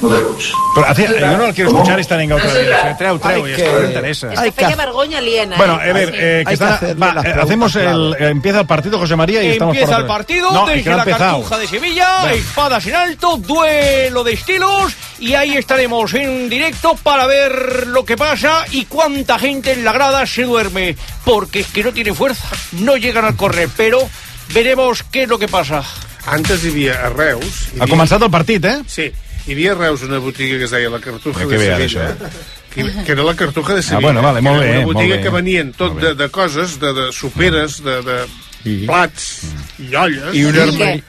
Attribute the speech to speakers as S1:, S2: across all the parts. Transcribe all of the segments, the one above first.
S1: No te escucho.
S2: Pero hace- yo no lo quiero
S1: ¿Cómo?
S2: escuchar y está venga otra vez. Eh, Treu, treu,
S3: Hay
S2: y esto
S3: que-
S2: no me interesa.
S3: Hay
S4: Hay que
S3: que-
S4: hacer vergüenza aliena.
S2: Bueno,
S4: ¿eh?
S2: a ver, eh, que
S3: hay que
S2: está-
S3: hacerle
S2: va,
S3: las
S2: eh,
S3: preguntas
S2: hacemos el,
S3: clave.
S2: empieza el partido José María y estamos por
S5: Empieza
S2: otra
S5: el
S2: vez.
S5: partido,
S2: No, es que
S5: desde
S2: no ha
S5: la
S2: empezado.
S5: Cartuja de Sevilla, espadas en alto, duelo de estilos y ahí estaremos en directo para ver lo que pasa y cuánta gente en la grada se duerme, porque es que no tiene fuerza, no llegan a correr, pero veremos qué es lo que pasa.
S6: Antes hi havia a Reus... Hi
S2: Ha
S6: havia,
S2: començat el partit, eh?
S6: Sí, hi havia a Reus una botiga que es deia la Cartuja
S2: Eh,
S6: de
S2: que bé, ara, Ah,
S6: Sevilla. Que, que era la Cartuja de Sevilla.
S2: bueno, vale,
S6: que era
S2: molt bé,
S6: Una
S2: molt
S6: botiga
S2: bé.
S6: que venien tot
S2: Molt bé.
S6: de, de coses, de, de superes, de, de
S3: I-
S6: plats,
S2: Mm.
S6: llolles...
S3: I una
S4: I
S3: arma...
S4: què?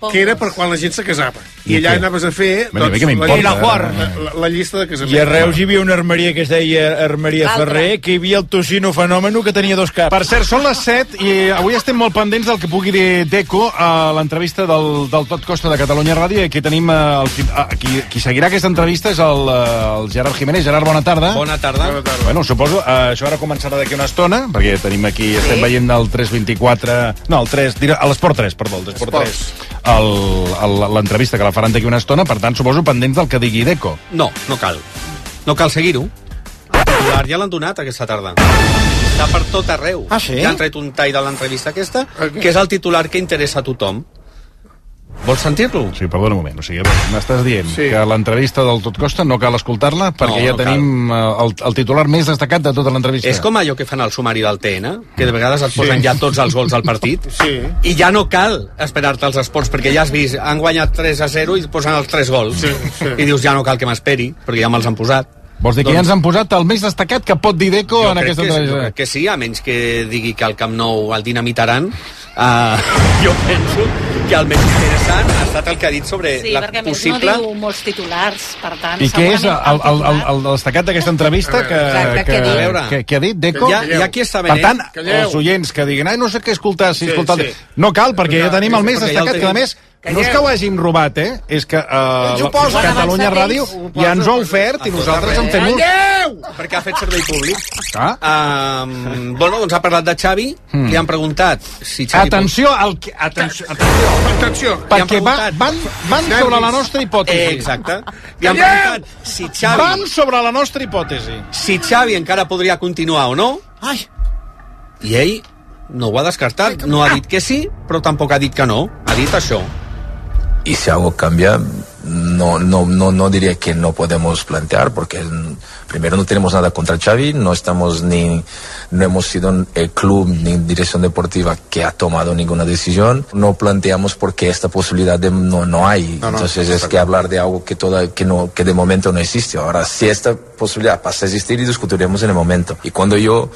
S4: Pongo.
S6: que era per quan la gent se casava. I,
S3: I
S6: allà
S3: què?
S6: anaves a fer
S2: Bueno, a mi què
S6: la,
S2: m'importa,
S6: llista-
S2: eh?
S6: la, la, la llista de casaments.
S3: I a Reus hi havia una armeria que es deia Armeria
S4: L'altra.
S3: Ferrer, que hi havia el Tocino Fenòmeno, que tenia dos
S2: Per
S3: caps.
S2: cert, són les 7 i avui estem molt pendents del que pugui dir Deco a l'entrevista del, del Tot Costa de Catalunya Ràdio i aquí tenim eh, el, qui, a- qui, qui seguirà aquesta entrevista és el, eh, el Gerard Jiménez. Gerard, bona tarda.
S7: Bona tarda.
S6: Bona tarda.
S2: Bueno, suposo, eh, això ara començarà d'aquí una estona, perquè tenim aquí, sí. estem veient el 324... No, el 3, dir- a l'Esport 3, perdó, el l'Esport 3. el- el- L'entrevista que la faran d'aquí una estona, per tant, suposo pendents del que digui Deco.
S7: No, no cal. No cal seguir-ho. El titular ja l'han donat aquesta tarda. Està per tot arreu.
S3: Ah, sí?
S7: Ja han tret un tall de l'entrevista aquesta,
S6: Ah,
S7: que és el titular que interessa a tothom. Vols sentir-lo?
S2: Sí, perdona un moment, o sigui, m'estàs dient sí.
S6: Sí.
S2: que l'entrevista del Tot Costa no cal escoltar-la perquè
S7: No,
S2: ja
S7: no
S2: tenim eh, el, el titular més destacat de tota l'entrevista.
S7: És com allò que fan al sumari del TN, que de vegades et posen ja tots els gols al partit.
S6: Sí.
S7: I ja no cal esperar-te els esports, perquè ja has vist, han guanyat 3 a 0 i et posen els 3 gols.
S6: Sí, sí.
S7: I dius, ja no cal que m'esperi, perquè ja me'ls han posat.
S2: Vols dir que ja ens han posat el més destacat que pot dir Deco
S7: Doncs- Jo
S2: en
S7: crec
S2: aquesta
S7: que, sí, jo
S2: entrevista?
S7: crec que sí, a menys que digui que al Camp Nou el dinamitaran. Uh, jo penso que el més interessant ha estat el que ha dit sobre
S4: Sí,
S7: la
S4: perquè a més no
S7: possible...
S4: diu molts titulars, per tant...
S2: I què és el,
S4: segurament
S2: el, el,
S4: titular-
S2: el destacat d'aquesta entrevista que,
S4: Exacte,
S2: que,
S4: què diu?
S2: que,
S7: A veure.
S2: que, ha dit Deco?
S7: Ja, ja aquí està
S2: Per
S7: venent.
S2: tant,
S6: Calleu.
S2: els oients que diguin, ai, no sé què escoltar, si
S6: Sí,
S2: escoltar...
S6: sí.
S2: No cal, perquè ja
S6: Clar,
S2: tenim el més
S7: perquè ja el
S2: destacat, que a
S7: tenim.
S2: més, no és que ho hàgim robat, eh? És que eh,
S6: Ells ho
S2: la-
S6: posen.
S2: Catalunya
S4: Ho posen
S2: Ràdio
S6: ells.
S2: ja ens ho ha
S6: Ho posen.
S2: ofert i
S7: A tot
S2: nosaltres
S7: arreu.
S2: en fem un...
S7: perquè ha fet servei públic.
S2: Ah. Hmm.
S7: Um, bueno, doncs ha parlat de Xavi, mm. li han preguntat si Xavi...
S2: Atenció al... que- Atenció, atenció,
S6: Atenció!
S7: han
S2: perquè va,
S7: preguntat.
S2: van, van
S6: Nervis.
S2: sobre la nostra
S7: pot- Eh,
S2: hipòtesi.
S7: exacte. Li han
S6: Calleu!
S7: preguntat si
S2: Van
S7: Xavi,
S2: sobre la nostra hipòtesi.
S7: si Xavi encara podria continuar o no,
S3: Ai,
S7: i ell no ho ha descartat. No ha dit que sí, però tampoc ha dit que no. Ha dit això.
S8: Y si algo cambia, no, no, no, no diría que no podemos plantear, porque mm, primero no tenemos nada contra Xavi, no estamos ni, no hemos sido el club ni dirección deportiva que ha tomado ninguna decisión. No planteamos porque esta posibilidad de- no, no hay. Entonces es que hablar de algo que toda, que no, que de momento no existe. Ahora, si esta posibilidad pasa a existir y discutiremos en el momento. Y cuando yo,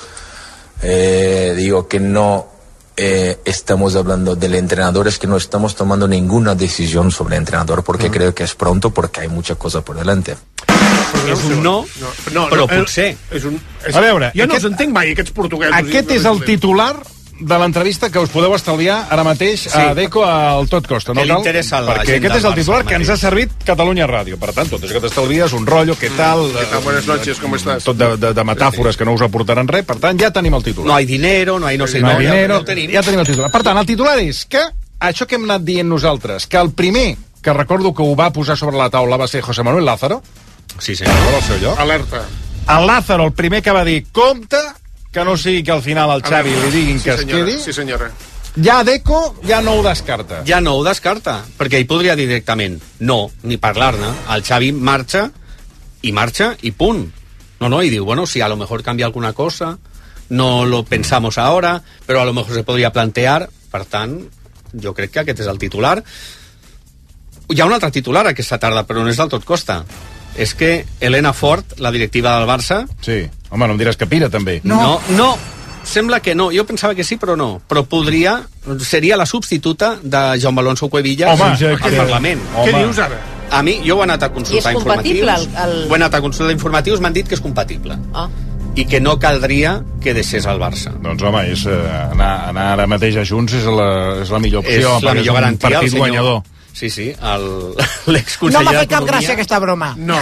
S8: eh, digo que no eh, estamos hablando del entrenador, es que no estamos tomando ninguna decisión sobre el entrenador porque creo que es pronto porque hay mucha cosa por delante.
S7: És un no, però potser.
S6: És un, és,
S2: A veure,
S6: jo no
S2: aquest-
S6: els entenc mai, aquests portuguesos.
S2: Aquest és el titular de l'entrevista que us podeu estalviar ara mateix a Deco al tot costa, no
S7: Que li
S2: cal?
S7: interessa a la
S2: Perquè
S7: gent
S2: aquest
S7: del
S2: és el
S7: Barça
S2: titular
S7: ara
S2: que ens ha
S7: mateix.
S2: servit Catalunya Ràdio. Per tant, tot això que t'estalvies, un rotllo, què tal...
S6: Què tal?
S2: eh,
S6: Buenas noches, ¿cómo estás?
S2: Tot de, de, de metàfores que no us aportaran res. Per tant, ja tenim el titular.
S7: No hay dinero, no hay no sé...
S2: No hi ha
S7: ja-
S2: dinero,
S7: no tenim.
S2: ja tenim el titular. Per tant, el titular és que això que hem anat dient nosaltres, que el primer que recordo que ho va posar sobre la taula va ser José Manuel Lázaro,
S7: Sí, sí.
S2: al seu lloc,
S6: Alerta.
S2: el Lázaro, el primer que va dir, compte, que no sigui que al final al Xavi li diguin
S6: sí,
S2: que es
S6: senyora,
S2: quedi.
S6: Sí, senyora.
S2: Ja Deco ja no ho descarta.
S7: Ja no ho descarta, perquè hi podria dir directament no, ni parlar-ne. El Xavi marxa, i marxa, i punt. No, no, i diu, bueno, si a lo mejor cambia alguna cosa, no lo pensamos ahora, però a lo mejor se podria plantear. Per tant, jo crec que aquest és el titular. Hi ha un altre titular aquesta tarda, però no és del tot costa. És que Elena Ford, la directiva del Barça,
S2: Sí. Home, no em diràs que pira, també.
S7: No. no, Sembla que no. Jo pensava que sí, però no. Però podria... Seria la substituta de Joan Balonso Cuevillas
S2: Home,
S7: al
S2: que-
S7: Parlament.
S2: Home.
S6: Què dius ara?
S7: A mi, jo ho he anat a
S4: I
S7: consultar
S4: és compatible,
S7: informatius.
S4: el- el-
S7: Ho he anat a consultar informatius, m'han dit que és compatible.
S4: Ah.
S7: I que no caldria que deixés el Barça.
S2: Doncs, home, és, eh, anar, anar ara mateix a Junts és la, és la millor
S7: És
S2: opció.
S7: la
S2: perquè
S7: millor
S2: un
S7: garantia. el
S2: Partit
S7: senyor-
S2: guanyador.
S7: Sí, sí, el- l'exconseller
S3: no m'ha fet cap
S7: d'Economia.
S3: gràcia aquesta broma.
S6: No.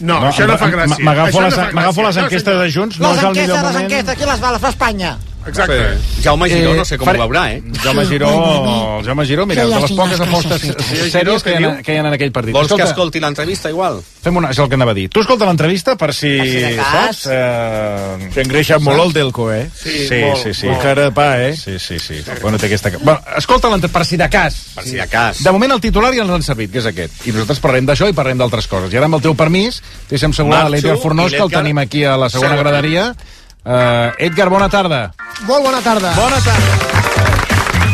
S6: No, no això no fa
S2: m-
S6: gràcia.
S2: M'agafo
S6: Això no
S2: les,
S6: fa gràcia.
S2: m'agafo les
S6: No,
S2: enquestes
S6: senyor.
S2: de Junts, no
S3: Les
S2: és el
S3: enquestes,
S2: millor
S3: les
S2: moment...
S3: enquestes, qui les fa? Les fa Espanya.
S6: Exacte.
S7: Sí. Jaume Giró
S2: Eh,
S7: no sé com
S2: faré-
S7: ho veurà, eh?
S2: Jaume Giró, el Jaume Giró, mira,
S1: Que
S2: de les
S1: llàstima
S2: poques
S1: que
S2: apostes
S1: s'ha fet.
S2: sèries que, hi ha- que hi ha en aquell partit.
S7: Vols que escolti l'entrevista igual?
S2: Fem una, és el que anava a dir. Tu escolta l'entrevista per si...
S4: Per si de cas.
S2: saps? Eh,
S3: S'ha engreixat molt el Delco, eh?
S2: Sí, sí,
S6: molt,
S2: sí. sí.
S6: molt.
S2: Cara de pa, eh? Sí, sí, sí. Bueno, té aquesta... Bueno, escolta, l'entre- per si de cas.
S7: Per si de cas.
S2: De moment el titular ja ens l'han servit, que és aquest. I nosaltres parlem d'això i parlem d'altres coses. I ara, amb el teu permís, deixem saludar a
S7: Marxo,
S2: l'Edgar
S7: i
S2: Fornós, que el
S7: l'Edgar-
S2: tenim aquí a la segona
S7: Segona.
S2: graderia. Uh, Edgar, bona tarda.
S1: Molt bona tarda.
S2: Bona tarda.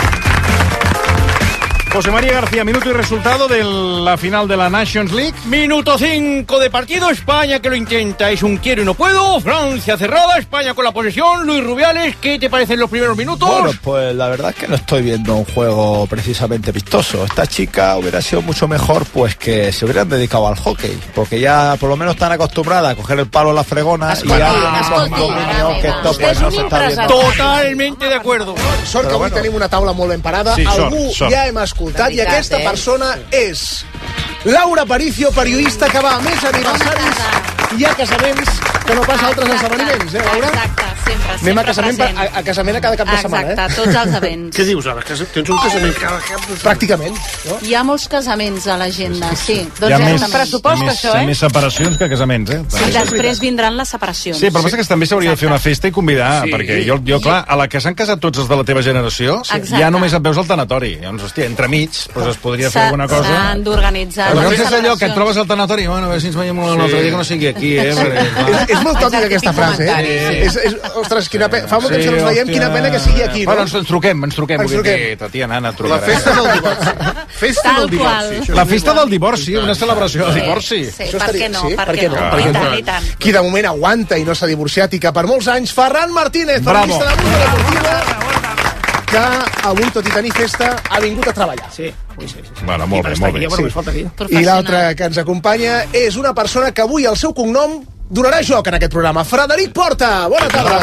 S2: José María García, minuto y resultado de la final de la Nations League.
S5: Minuto 5 de partido, España que lo intenta, es un quiero y no puedo, Francia cerrada, España con la posesión, Luis Rubiales, ¿qué te parecen los primeros minutos?
S9: Bueno, pues la verdad es que no estoy viendo un juego precisamente vistoso. Esta chica hubiera sido mucho mejor pues que se hubieran dedicado al hockey, porque ya por lo menos están acostumbradas a coger el palo en la fregona y
S4: Escolti,
S3: ah,
S9: ya
S4: escolti,
S9: Creo que esto,
S4: Aravena,
S9: pues,
S4: vostè és
S9: no
S4: un
S9: se está viendo.
S4: impresentable.
S5: Totalmente de acuerdo.
S1: Sort que
S9: Però
S1: avui
S9: bueno.
S1: tenim una taula molt ben parada.
S2: Sí, sort,
S1: Algú
S2: sort.
S1: ja hem escoltat
S4: De
S1: i
S4: veritat,
S1: aquesta
S4: eh?
S1: persona és Laura Paricio, periodista que va a més aniversaris
S4: Bona
S1: i a casaments que no passa a altres
S4: Exacte,
S1: esdeveniments, eh, Laura?
S4: Exacte, sempre, sempre
S1: Anem a casament, per,
S4: present.
S1: a, a casament a cada cap de setmana,
S4: Exacte,
S1: eh?
S4: tots els events.
S6: Què dius ara? Que tens un casament cada cap de setmana?
S1: Pràcticament, no?
S4: Hi ha molts casaments a l'agenda, sí.
S2: Hi ha
S4: Doncs
S2: més,
S4: més,
S2: hi
S4: pressupost,
S2: ha més,
S4: això,
S2: hi ha
S4: eh?
S2: Més separacions que casaments, eh?
S4: I després vindran les separacions.
S2: Sí, però passa que també s'hauria de fer una festa i convidar, sí. perquè jo, jo, clar, a la que s'han casat tots els de la teva generació, sí.
S4: Exacte.
S2: ja només et veus al tanatori. Llavors, hòstia, entremig, doncs es podria fer
S4: S'ha-
S2: alguna cosa.
S4: S'han d'organitzar.
S2: Però no
S4: les
S2: és allò que et
S4: celebracions.
S2: trobes al tanatori, bueno, a veure si ens veiem un altre dia que no sigui aquí, eh? Perquè,
S1: És,
S2: clar.
S1: és molt tòpica
S4: Exacte,
S1: aquesta
S4: tinc
S1: frase, eh?
S4: comentari,
S1: És, és, ostres, quina pena. Fa molt temps que no ens
S2: hòstia.
S1: veiem, quina pena que sigui aquí,
S2: Bueno,
S1: no?
S2: ens, ens truquem, ens truquem.
S1: Ens
S2: Ens truquem.
S1: truquem.
S2: Dir, Tatiana, Anna,
S6: La
S2: trucarà.
S6: festa del divorci. Festa
S4: Tal
S6: del divorci.
S4: qual.
S6: això.
S2: La festa del divorci, una celebració del divorci. Ah.
S4: Sí,
S1: Això
S4: per
S1: estaria-
S4: què no?
S1: sí?
S4: Per
S1: Per
S4: què
S1: què
S4: no?
S1: no?
S4: I
S1: Per què
S4: tant,
S1: no?
S4: i tant.
S1: Qui de moment aguanta i no s'ha divorciat i que per molts anys, Ferran Martínez,
S2: Bravo.
S1: periodista de Mundo Deportiva, que avui, tot i tenir festa, ha vingut a treballar.
S9: Sí, uy, sí, sí.
S2: Bueno, molt bé, molt bé.
S9: Bueno, pues falta aquí.
S1: I
S4: Professional.
S1: l'altra que ens acompanya és una persona que avui el seu cognom donarà joc en aquest programa. Frederic Porta, bona tarda.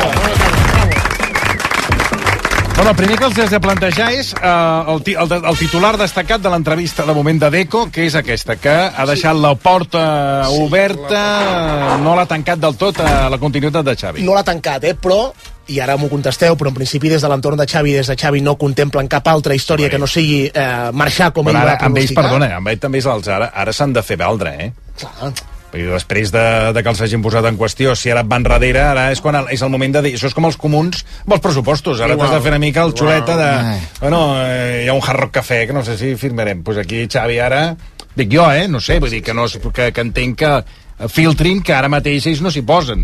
S2: Bueno, el primer que els has de plantejar és eh, el, ti- el, de- el titular destacat de l'entrevista de moment de Deco, que és aquesta, que ha deixat la porta oberta, no l'ha tancat del tot a la continuïtat de Xavi.
S1: No l'ha tancat, eh, però i ara m'ho contesteu, però en principi des de l'entorn de Xavi, des de Xavi no contemplen cap altra història que no sigui eh, marxar com
S2: Però
S1: ell
S2: ara,
S1: va
S2: amb ells,
S1: pronosticar.
S2: perdona, amb ells també és els ara, ara s'han de fer valdre, eh?
S1: Clar.
S2: Vull dir, després de, de que els hagin posat en qüestió, si ara et van darrere, ara és quan el, és el moment de dir... Això és com els comuns amb els pressupostos. Ara t'has de fer una mica el xuleta de... Bueno, eh, hi ha un Hard Rock Cafè que no sé si firmarem. Doncs pues aquí, Xavi, ara... Dic jo, eh? No sé, vull dir que, no, és- que, que entenc que eh, filtrin que ara mateix ells no s'hi posen.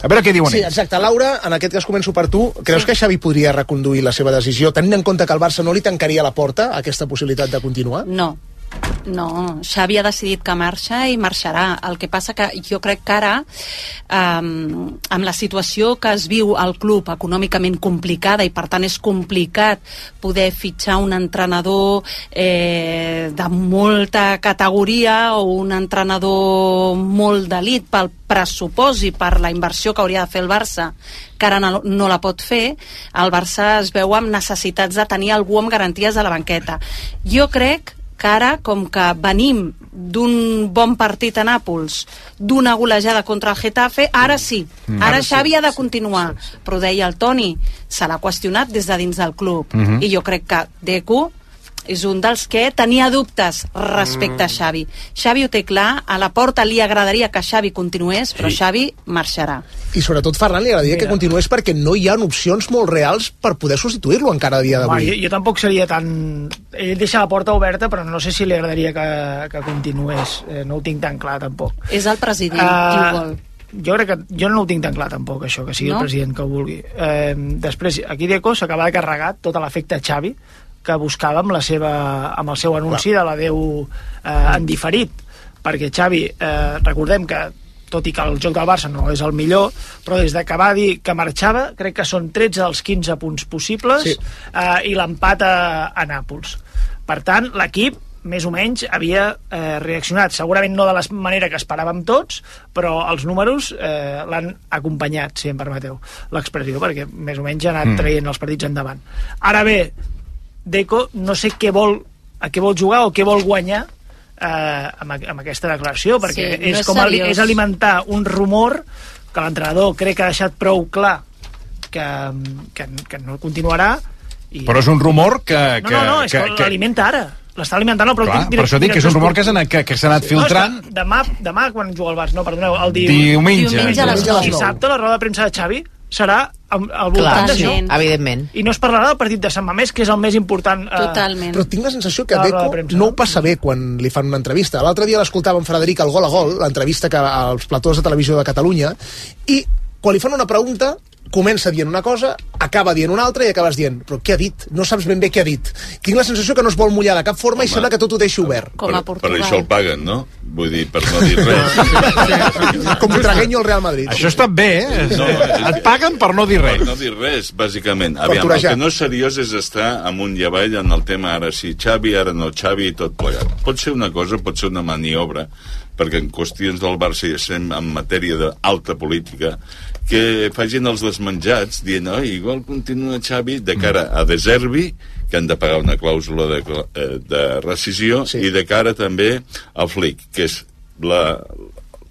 S2: No ho sé. A veure què diuen
S1: Sí,
S2: ells.
S1: exacte. Laura, en aquest cas començo per tu. Creus sí. que Xavi podria reconduir la seva decisió, tenint en compte que el Barça no li tancaria la porta a aquesta possibilitat de continuar?
S4: No, no, Xavi ha decidit que marxa i marxarà. El que passa que jo crec que ara, um, amb la situació que es viu al club econòmicament complicada i per tant és complicat poder fitxar un entrenador eh, de molta categoria o un entrenador molt d'elit pel pressupost i per la inversió que hauria de fer el Barça que ara no, no la pot fer, el Barça es veu amb necessitats de tenir algú amb garanties a la banqueta. Jo crec que ara, com que venim d'un bon partit a Nàpols, d'una golejada contra el Getafe, ara sí, Mm. ara Xavi ha de continuar. Però ho deia el Toni, se l'ha qüestionat des de dins del club.
S1: Mhm.
S4: I jo crec que Deco és un dels que tenia dubtes respecte
S1: Mm.
S4: a Xavi. Xavi ho té clar, a la porta li agradaria que Xavi continués, però Xavi marxarà.
S1: I sobretot Ferran li agradaria que continués perquè no hi ha opcions molt reals per poder substituir-lo encara a dia
S9: Home,
S1: d'avui.
S9: jo, jo tampoc seria tan... Ell deixa la porta oberta, però no sé si li agradaria que, que continués. Eh, no ho tinc tan clar, tampoc.
S4: És el president qui ho vol.
S9: Uh, jo crec que jo no ho tinc tan clar tampoc això, que sigui
S4: No?
S9: el president que ho vulgui eh, després aquí Deco s'acaba de carregar tot l'efecte Xavi que buscava amb, la seva, amb el seu anunci de la Déu eh, en diferit perquè Xavi, eh, recordem que tot i que el joc del Barça no és el millor, però des de que va dir que marxava, crec que són 13 dels 15 punts possibles sí. eh, i l'empat a, a Nàpols. Per tant, l'equip més o menys havia eh, reaccionat, segurament no de la manera que esperàvem tots, però els números eh, l'han acompanyat, si em permeteu l'expressió, perquè més o menys ha anat traient els partits endavant. Ara bé, Deco no sé què vol, a què vol jugar o què vol guanyar eh, amb, a- amb aquesta declaració, perquè
S4: Sí, no
S9: és,
S4: és
S9: com ali,
S4: seriós.
S9: és alimentar un rumor que l'entrenador crec que ha deixat prou clar que, que, que no continuarà. I...
S2: Però és un rumor que...
S9: No,
S2: que
S9: no, no, és que,
S2: que,
S9: que l'alimenta ara. L'està alimentant el propi
S2: Clar, per
S9: direc-
S2: això dic que és un
S9: director
S2: rumor que
S9: esportiu.
S2: s'ha anat, que, que s'ha anat filtrant
S9: No, és que demà, demà quan juga el Barça, no, perdoneu, el di...
S2: diumenge.
S4: diumenge a les
S1: diumenge a les nou.
S9: Dissabte la roda de premsa de Xavi serà amb- al voltant
S4: Clar,
S9: d'això.
S4: sí.
S10: Evidentment.
S9: I no es parlarà del partit de Sant Mamés, que és el més important. Eh,
S4: Totalment.
S1: Però tinc la sensació que
S9: Ah, la
S1: Deco
S9: premsa,
S1: no ho
S9: no?
S1: passa bé quan li fan una entrevista. L'altre dia l'escoltava en Frederic al Gol a Gol, l'entrevista que als platós de televisió de Catalunya, i quan li fan una pregunta comença dient una cosa, acaba dient una altra i acabes dient, però què ha dit? No saps ben bé què ha dit. Tinc la sensació que no es vol mullar de cap forma i sembla que tot ho deixi obert.
S4: Com
S11: per
S4: a Portugal.
S11: això el paguen, no? Vull dir, per no dir res.
S1: Com Tragueño al Real Madrid.
S2: Això està bé, eh?
S11: No, és
S2: Et
S11: que-
S2: paguen per no dir
S11: Per
S2: res.
S11: no dir res, bàsicament. Aviam, el
S1: torejar.
S11: que no és seriós és estar amunt i avall en el tema ara sí Xavi, ara no Xavi i tot plegat. Pot ser una cosa, pot ser una maniobra, perquè en qüestions del Barça i estem en matèria d'alta política, que facin els desmenjats dient, oi, igual continua Xavi de cara a De Zerbi, que han de pagar una clàusula de, cla- eh, de rescisió,
S1: Sí.
S11: sí. i de cara també al Flick, que és la,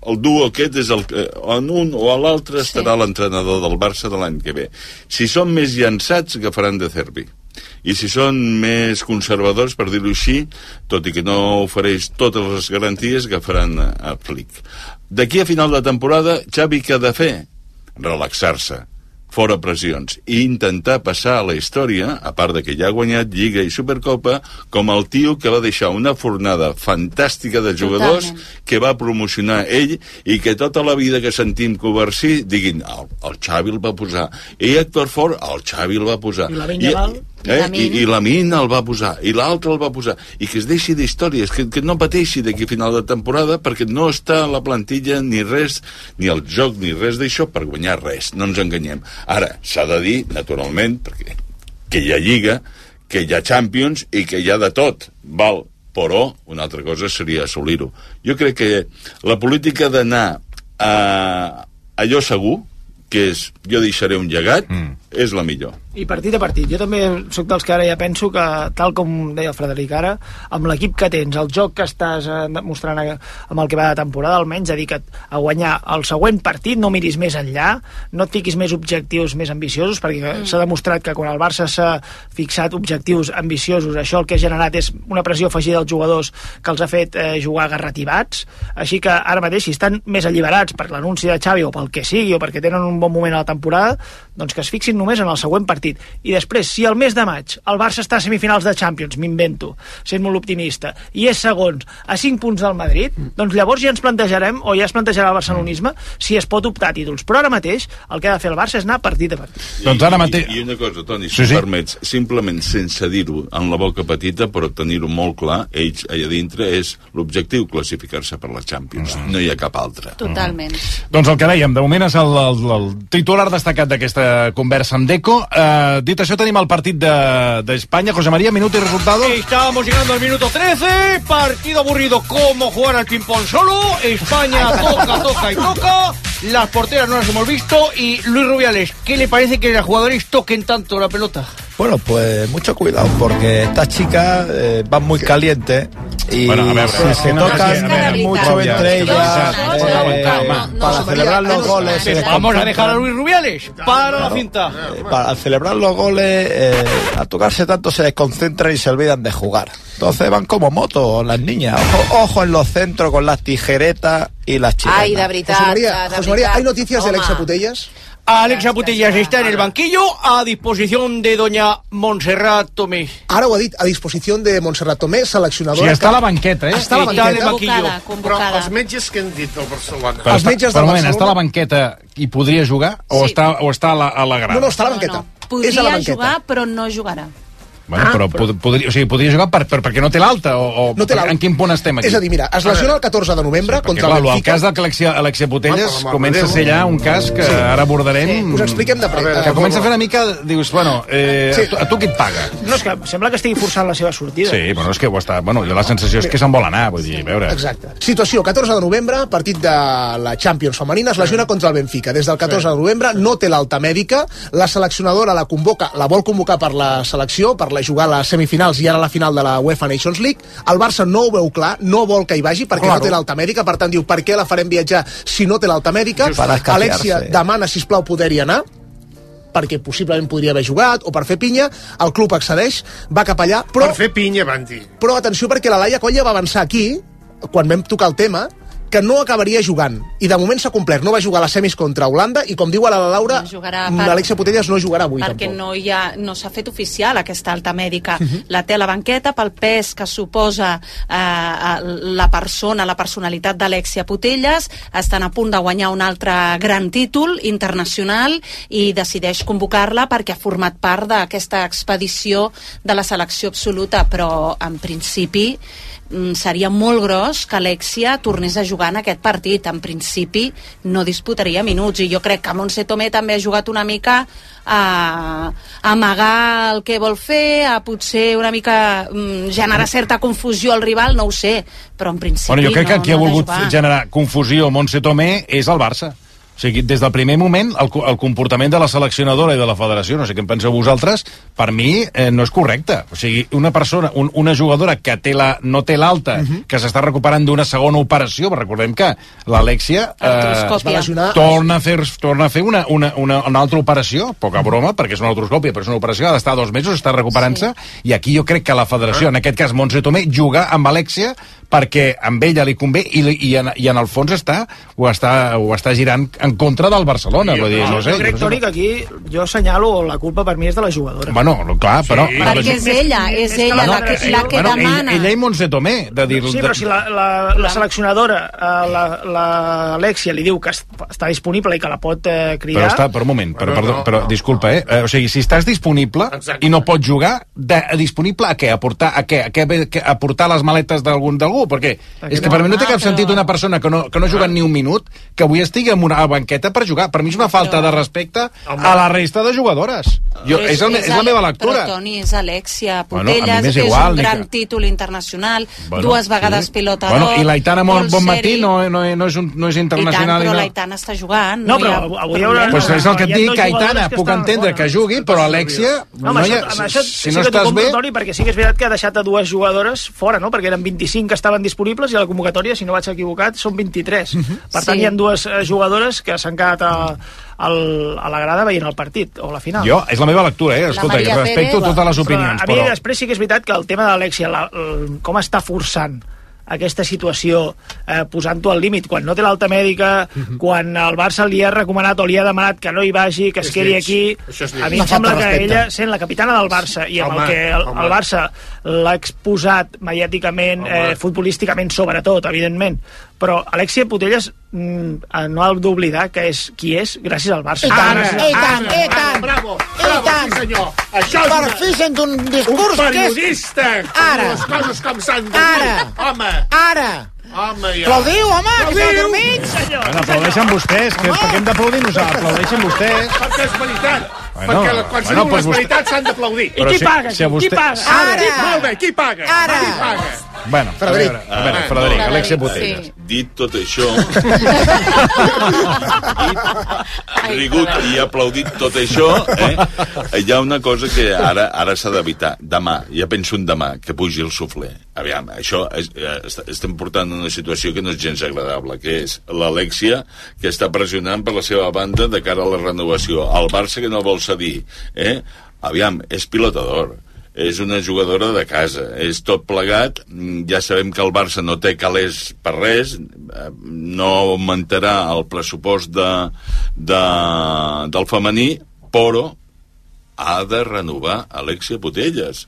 S11: el duo aquest és el que en un o a l'altre
S4: Sí.
S11: estarà l'entrenador del Barça de l'any que ve. Si són més llançats, agafaran de Cervi. I si són més conservadors, per dir-ho així, tot i que no ofereix totes les garanties, agafaran a, a Flick. D'aquí a final de temporada, Xavi què ha de fer? Relaxar-se fora pressions i intentar passar a la història, a part de que ja ha guanyat Lliga i Supercopa, com el tio que va deixar una fornada fantàstica de jugadors
S4: Totalment.
S11: que va promocionar ell i que tota la vida que sentim Covarsí diguin, el, el Xavi el va posar i Héctor Ford, el Xavi el va posar
S9: I Lamin Yamal.
S11: eh? I,
S4: Lamin.
S11: i la mina el va posar, i l'altre el va posar, i que es deixi d'històries, que, que no pateixi d'aquí a final de temporada, perquè no està a la plantilla ni res, ni el joc, ni res d'això per guanyar res, no ens enganyem. Ara, s'ha de dir, naturalment, perquè que hi ha Lliga, que hi ha Champions i que hi ha de tot, val? Però una altra cosa seria assolir-ho. Jo crec que la política d'anar a allò segur, que és jo deixaré un llegat, mm. és la millor.
S9: I partit a partit. Jo també sóc dels que ara ja penso que, tal com deia el Frederic ara, amb l'equip que tens, el joc que estàs eh, mostrant eh, amb el que va de temporada, almenys dedica't a guanyar el següent partit, no miris més enllà, no et fiquis més objectius més ambiciosos, perquè mm. s'ha demostrat que quan el Barça s'ha fixat objectius ambiciosos, això el que ha generat és una pressió afegida als jugadors que els ha fet eh, jugar garrativats, així que ara mateix, si estan més alliberats per l'anunci de Xavi o pel que sigui, o perquè tenen un bon moment a la temporada, doncs que es fixin només en el següent partit. I després, si el mes de maig el Barça està a semifinals de Champions, m'invento, sent molt optimista, i és segons a 5 punts del Madrid,
S2: Mm.
S9: doncs llavors ja ens plantejarem, o ja es plantejarà el barcelonisme, si es pot optar a títols. Però ara mateix el que ha de fer el Barça és anar partit a partit.
S2: Doncs ara mateix-
S11: I, I una cosa, Toni,
S2: Sí,
S11: si sí,
S2: sí.
S11: sí. permets, simplement sense dir-ho en la boca petita, però tenir-ho molt clar, ells allà dintre és l'objectiu classificar-se per la Champions.
S2: Mm.
S11: No hi ha cap altre.
S4: Totalment.
S2: Doncs el que dèiem, de moment és el, el, el titular destacat d'aquesta conversa amb Deco. Uh, dit això, tenim el partit de- d'Espanya. De, José María, minut i resultado.
S5: Estamos llegando al minuto 13, partido aburrido como jugar al ping-pong solo, España toca, toca y toca, las porteras no las hemos visto y Luis Rubiales, ¿qué le parece que los jugadores toquen tanto la pelota?
S3: Bueno, pues mucho cuidado, porque estas chicas eh, van muy calientes y
S2: Bueno, a ver,
S3: si
S2: a ver,
S3: se
S2: una
S4: cosa, a ver,
S3: tocan mucho
S4: Robia,
S3: entre ellas
S4: Robia,
S3: eh,
S4: Robia, no, no,
S3: para
S4: no,
S3: celebrar
S4: Robia,
S3: los
S4: no,
S3: goles... se
S5: Vamos a
S3: desconcentran.
S5: dejar a Luis Rubiales para la cinta.
S3: Eh, para celebrar los goles, eh, a tocarse tanto se desconcentran y se olvidan de jugar. Entonces van como motos las niñas. Ojo, ojo en los centros con las tijeretas y las chicas.
S10: Ai, de veritat.
S1: José María,
S10: de
S1: José María,
S10: veritat.
S1: ¿hay noticias
S10: Home.
S1: del exaputellas?
S5: Alex Aputellas está en el banquillo a disposición de doña Montserrat Tomé.
S1: Ara ho ha dit, a disposició de Montserrat Tomé,
S2: O
S1: seleccionadora...
S2: sigui, està a
S1: que-
S2: la banqueta, eh?
S1: Està a la
S5: Està en el
S1: banqueta.
S5: banquillo.
S6: Però
S4: Convocada, convocada.
S6: els metges que han dit del Barcelona...
S2: Però
S1: Els
S2: està- per
S1: metges del
S2: un moment,
S1: Barcelona-
S2: està a la banqueta i podria jugar? O,
S4: Sí.
S2: està, o està a la, a la grada?
S1: No, no, està a la
S4: No,
S1: banqueta.
S4: no. Podria
S1: és a la banqueta.
S4: jugar, però no jugarà.
S2: Bueno, però, pod- podria, o sigui, podria jugar per, per, perquè no té l'alta? O, o
S1: Ah, No té l'alt.
S2: en quin punt estem aquí?
S1: És a dir, mira, es lesiona el 14 de novembre
S2: Perquè,
S1: contra
S2: clar, el
S1: l'Benfica.
S2: cas de Alexia, Alexia Putelles
S6: Ah, per la mare
S2: comença
S6: de
S2: a ser ja un cas que ara abordarem...
S1: Mm. Us expliquem de Eh, pressa.
S2: Que comença a fer una mica... Dius, bueno, eh,
S1: Sí.
S2: a, tu, a tu qui et paga?
S9: No, és que sembla que estigui forçant la seva sortida.
S2: Sí, bueno, és que ho està... Bueno, jo la sensació és que se'n vol anar, vull dir, a veure...
S1: Exacte. Situació, 14 de novembre, partit de la Champions femenina, es lesiona contra el Benfica. Des del 14 de novembre no té l'alta mèdica, la seleccionadora la convoca, la vol convocar per la selecció, per la jugar a les semifinals i ara a la final de la UEFA Nations League. El Barça no ho veu clar, no vol que hi vagi perquè
S2: Claro.
S1: no té l'alta mèdica, per tant diu, per què la farem viatjar si no té l'alta mèdica?
S3: Just per escafiar-se.
S1: Alexia demana, sisplau, poder-hi anar perquè possiblement podria haver jugat o per fer pinya, el club accedeix, va cap allà, però...
S6: Per fer pinya, van dir.
S1: Però atenció perquè la Laia Colla va avançar aquí, quan vam tocar el tema, que no acabaria jugant. I de moment s'ha complert. No va jugar a les semis contra Holanda i, com diu ara la Laura,
S4: No jugarà,
S1: no
S4: Ah, per-
S1: l'Alexia Putellas no jugarà avui,
S4: perquè
S1: tampoc. Mhm.
S4: no hi ha, no s'ha fet oficial aquesta alta mèdica. La té a la banqueta pel pes que suposa eh, la persona, la personalitat d'Alexia Putelles, estan a punt de guanyar un altre gran títol internacional i decideix convocar-la perquè ha format part d'aquesta expedició de la selecció absoluta, però en principi mm, seria molt gros que Alexia tornés a jugar en aquest partit. En principi no disputaria minuts i jo crec que Montse Tomé també ha jugat una mica a, a amagar el que vol fer, a potser una mica mm, generar certa confusió al rival, no ho sé, però en principi
S2: bueno, jo crec
S4: no,
S2: que qui
S4: no
S2: ha
S4: de
S2: volgut
S4: jugar.
S2: generar confusió a Montse Tomé és el Barça. O sigui, des del primer moment, el, co- el comportament de la seleccionadora i de la federació, no sé què en penseu vosaltres, per mi eh, no és correcte. O sigui, una persona, un, una jugadora que té la, no té l'alta,
S4: Mhm.
S2: que s'està recuperant d'una segona operació, però recordem que l'Alexia eh,
S1: Es va lesionar
S2: torna a fer, torna a fer una, una, una, una altra operació, poca broma, perquè és una artroscòpia, però és una operació, ha d'estar dos mesos, està recuperant-se, i aquí jo crec que la
S9: Ah.
S2: federació, en aquest cas Montse Tomé, juga amb Alexia perquè amb ella li convé i, li- i, en, i en el fons està, ho, està, ho està girant en contra del Barcelona. Jo, vull dir, no,
S9: No,
S2: sé,
S9: jo crec,
S2: no
S9: Toni,
S2: sé.
S9: que aquí jo assenyalo la culpa per mi és de la jugadora.
S2: Bueno, no, clar, però...
S9: Sí.
S2: no,
S4: Perquè és ella, és
S9: que
S4: ella
S9: la
S4: la que, la
S9: federació-
S4: que
S2: bueno,
S4: demana.
S2: Ella, ella i Montse Tomé, de dir...
S9: Sí, però si la, la, la seleccionadora, eh, la- la- l'Alexia, li diu que es- està disponible i que la pot eh, cridar...
S2: Però està, per un moment, però, perdó, però disculpa, eh? Eh, O sigui, si estàs disponible
S6: Exacte.
S2: i no pots jugar, de, eh, disponible a què? A portar, a què? A, què, ve- que- a portar les maletes d'algun d'algú? Perquè és que per mi no té
S4: Ah,
S2: cap
S4: però-
S2: sentit una persona que no, que no ha jugat ni un minut que avui estigui en una banqueta per jugar. Per mi és una falta de respecte a la resta de jugadores. Jo, és, el, me- és la
S4: Ale-
S2: meva lectura.
S4: Però, Toni, és Alexia
S2: Bueno, a mi
S4: Putelles,
S2: m'és
S4: és
S2: igual,
S4: un
S2: ni
S4: gran
S2: que-
S4: títol internacional,
S2: Bueno,
S4: dues vegades
S2: sí.
S4: pilota
S2: Bueno,
S4: d'or,
S2: I l'Aitana
S4: molt
S2: Bon, bon Matí
S4: seri.
S2: no, no, no, és, un, no és
S4: I tant,
S2: internacional.
S4: però
S2: ni no.
S4: l'Aitana està jugant.
S9: No, però
S4: hi ha
S9: avui hi haurà-
S4: problema.
S2: Pues Doncs és el que et
S9: Hi ha
S2: dic,
S9: dos
S2: que Aitana,
S9: jugadores que
S2: puc
S9: estan
S2: entendre
S9: bones.
S2: que jugui, però Alexia,
S9: No, amb
S2: noia,
S9: això, amb això
S2: si
S9: sí
S2: no
S9: que t'ho
S2: estàs
S9: compro,
S2: bé...
S9: Toni, perquè sí que és veritat que ha deixat a dues jugadores fora, no? Perquè eren 25 que estaven disponibles i a la convocatòria, si no vaig equivocat, són 23.
S2: Mhm.
S9: Per tant,
S4: Sí.
S9: hi ha dues eh, jugadores que s'han quedat a, al, a la grada veient el partit, o la final.
S2: Jo, és la meva lectura, eh? Escolta,
S4: Maria
S2: jo respecto
S4: Pérez,
S2: totes les
S9: Però
S2: opinions,
S9: a mi
S2: però...
S9: després sí que és veritat que el tema de l'Alexia, la, el- com està forçant aquesta situació eh, posant-ho al límit quan no té l'alta mèdica,
S2: Mhm.
S9: quan el Barça li ha recomanat o li ha demanat que no hi vagi, que es
S6: És
S9: quedi
S6: lleig.
S9: aquí
S6: Això és lleig.
S9: a mi
S6: Una
S9: em sembla
S1: falta de
S9: que
S1: respecte.
S9: ella sent la capitana del Barça i amb
S6: Home,
S9: el que el,
S6: home.
S9: el Barça l'ha exposat mediàticament,
S6: Home.
S9: eh, futbolísticament sobretot, evidentment però Alexia Putelles mm, eh, no ha d'oblidar que és qui és gràcies al Barça.
S10: tant, Eh,
S9: Gràcies-
S10: i tant,
S6: Ara,
S10: i tant. Eh,
S6: Bravo,
S10: I
S6: bravo,
S10: tant.
S6: sí senyor. Això és
S10: Per
S6: una-
S10: fi sent un
S6: un
S10: discurs que és...
S6: periodista. que
S10: Ara.
S6: diu Les coses com s'han de dir.
S10: Ara.
S6: Home,
S10: Ara!
S6: home, ja.
S10: Aplaudiu, home, que esteu
S6: Aplaudiu.
S10: dormits!
S2: Bueno, aplaudeixen vostès, que
S10: Home.
S2: per què hem d'aplaudir nosaltres? Aplaudeixen vostès.
S6: Eh, Perquè és veritat.
S2: Bueno,
S6: perquè la- quan
S2: bueno,
S6: se diuen
S2: pues
S6: les
S2: vostè-
S6: veritats s'han d'aplaudir.
S2: Però
S9: qui
S2: si-
S9: paga?
S2: si a
S9: aquí?
S2: vostè-
S9: Qui paga?
S10: Ara!
S6: Qui- Molt bé, qui paga?
S10: Ara.
S6: Qui paga?
S2: Bueno,
S1: Frederic.
S2: Frederic. A veure,
S6: Ah,
S2: Frederic,
S4: Frederic,
S2: Alexia
S4: sí.
S2: Putellas.
S11: Dit tot això, rigut i aplaudit tot això, eh, hi ha una cosa que ara ara s'ha d'evitar. Demà, ja penso en demà, que pugi el suflé. Aviam, això és, eh, est- estem portant una situació que no és gens agradable, que és l'Alexia, que està pressionant per la seva banda de cara a la renovació. El Barça, que no vol cedir. Eh? Aviam, és pilotador és una jugadora de casa, és tot plegat, Mm, ja sabem que el Barça no té calés per res, eh, no augmentarà el pressupost de, de, del femení, però ha de renovar Alexia Putelles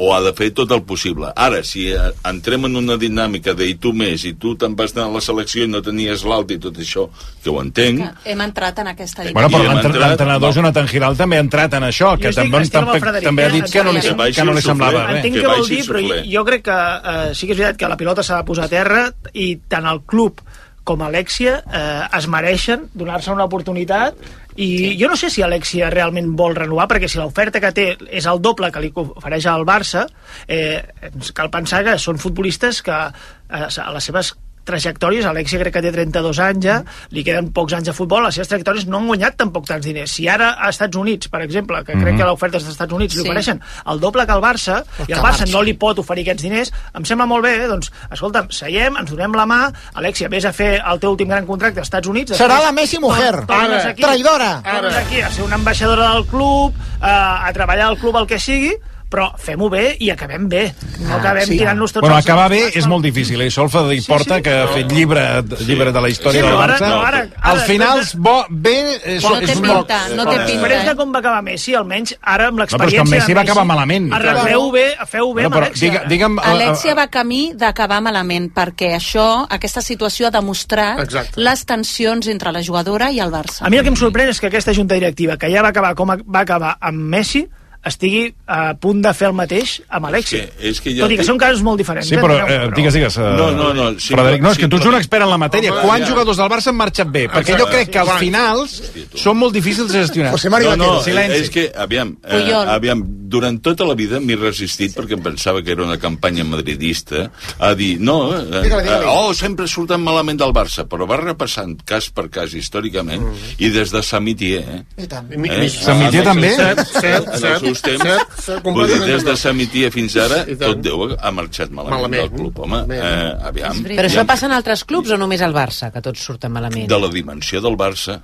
S11: o ha de fer tot el possible. Ara, si eh, entrem en una dinàmica de i tu més, i tu te'n vas anar a la selecció i no tenies l'alta i tot això, que ho entenc,
S4: Hem entrat en aquesta
S2: Bueno,
S11: Bueno, I
S2: però
S11: hem
S2: l'entre-
S11: entrat-
S2: l'entrenador
S11: no.
S2: Jonathan Giral també ha entrat en això, que
S9: estic-
S2: també,
S9: estic amb el
S2: tampoc-
S9: Frederic,
S2: també ha
S9: eh?
S2: dit que no li,
S4: Que
S2: sem-
S11: baixi
S2: que no
S11: el
S2: li semblava
S11: suflé.
S2: bé.
S9: Entenc
S11: Que
S9: que què vol
S11: vagi
S9: dir, però
S11: sufler.
S9: jo crec que eh, sí que és veritat que la pilota s'ha de posar a terra i tant el club com Alexia eh, es mereixen donar-se una oportunitat i jo no sé si Alexia realment vol renovar perquè si l'oferta que té és el doble que li ofereix al Barça eh, ens cal pensar que són futbolistes que eh, a les seves trajectòries, Alexia crec que té 32 anys ja,
S10: Mm.
S9: li queden pocs anys de futbol, les seves trajectòries no han guanyat tampoc tants diners. Si ara a Estats Units, per exemple, que
S10: Mm-hmm.
S9: crec que l'oferta dels Estats Units
S4: Sí.
S9: li ofereixen el doble que el Barça, i el
S1: que
S9: Barça
S1: Barça.
S9: no li pot oferir aquests diners, em sembla molt bé, eh? doncs, escolta'm, seiem, ens donem la mà, Alexia, vés a fer el teu últim gran contracte als Estats Units...
S10: Serà
S9: després
S10: la Messi mujer.
S9: tornes
S10: Ara. Traïdora.
S9: Tornes aquí a ser una ambaixadora del club, eh, a, a treballar al club el que sigui, però fem-ho bé i acabem bé.
S10: Ah,
S9: No acabem
S1: sí.
S9: tirant-nos
S2: Ah,
S9: tots
S2: Bueno,
S9: els-
S2: acabar bé és molt difícil, eh? Això el Frederic
S9: Sí,
S2: Porta,
S9: sí.
S2: que ha fet llibre, llibre de la història
S9: Sí,
S2: del
S9: però ara-
S2: Barça.
S9: no, ara- ara
S2: Al final,
S9: després de-
S2: bo, bé... És,
S4: No té
S2: és un
S4: pinta,
S2: bon-
S4: no té pinta.
S9: Després de
S4: eh?
S9: com va acabar Messi, almenys ara amb
S2: que
S9: l'experiència...
S2: en
S9: de
S2: Messi va acabar malament.
S9: Arregleu bé, feu bé
S2: Bueno,
S9: amb
S2: però
S9: Alexia.
S2: digue, digue'm... eh,
S4: Alexia
S2: eh,
S4: va camí d'acabar malament, perquè això, aquesta situació ha demostrat
S6: Exacte.
S4: les tensions entre la jugadora i el Barça.
S9: A mi el que em sorprèn és que aquesta junta directiva, que ja va acabar com a- va acabar amb Messi, estigui a punt de fer el mateix amb Alexia.
S11: És que- és que jo
S9: Tot i que
S11: dic-
S9: són casos molt diferents.
S2: Sí,
S9: eh,
S2: però
S9: enteneu?
S2: eh, digues, digues, eh,
S11: No, no, no, sí,
S2: Frederic, no, és
S11: sí,
S2: que tu ets un
S11: però-
S2: expert en la matèria.
S11: Home,
S2: Quants
S11: ja.
S2: jugadors del Barça han marxat bé? Perquè jo
S11: Exacte.
S2: crec que als finals són molt difícils de gestionar.
S1: José Mario
S11: no,
S1: Vaquero.
S11: no,
S2: Silenci.
S11: és que, aviam, eh,
S4: Puyol.
S11: aviam, durant tota la vida m'he resistit perquè em pensava que era una campanya madridista a dir, no, eh,
S1: Digue-li, digue-li.
S11: eh, oh, sempre surten malament del Barça, però va repassant cas per cas històricament i des de Samitier, eh?
S10: I tant.
S6: Mi-
S11: Eh?
S6: mi-
S2: Samitier també?
S6: Cert, cert,
S11: En els
S6: cert,
S11: seus temps,
S6: cert, cert,
S11: vull dir, des de
S6: completament.
S11: Samitier fins ara,
S6: I tant.
S11: tot Déu ha marxat malament,
S6: Malament.
S11: del club, home.
S6: Bé.
S11: Eh, aviam.
S4: veritat.
S12: Però
S11: I
S12: això
S11: amb-
S12: passa en altres clubs o només al Barça, que tots surten malament?
S11: De la dimensió del Barça.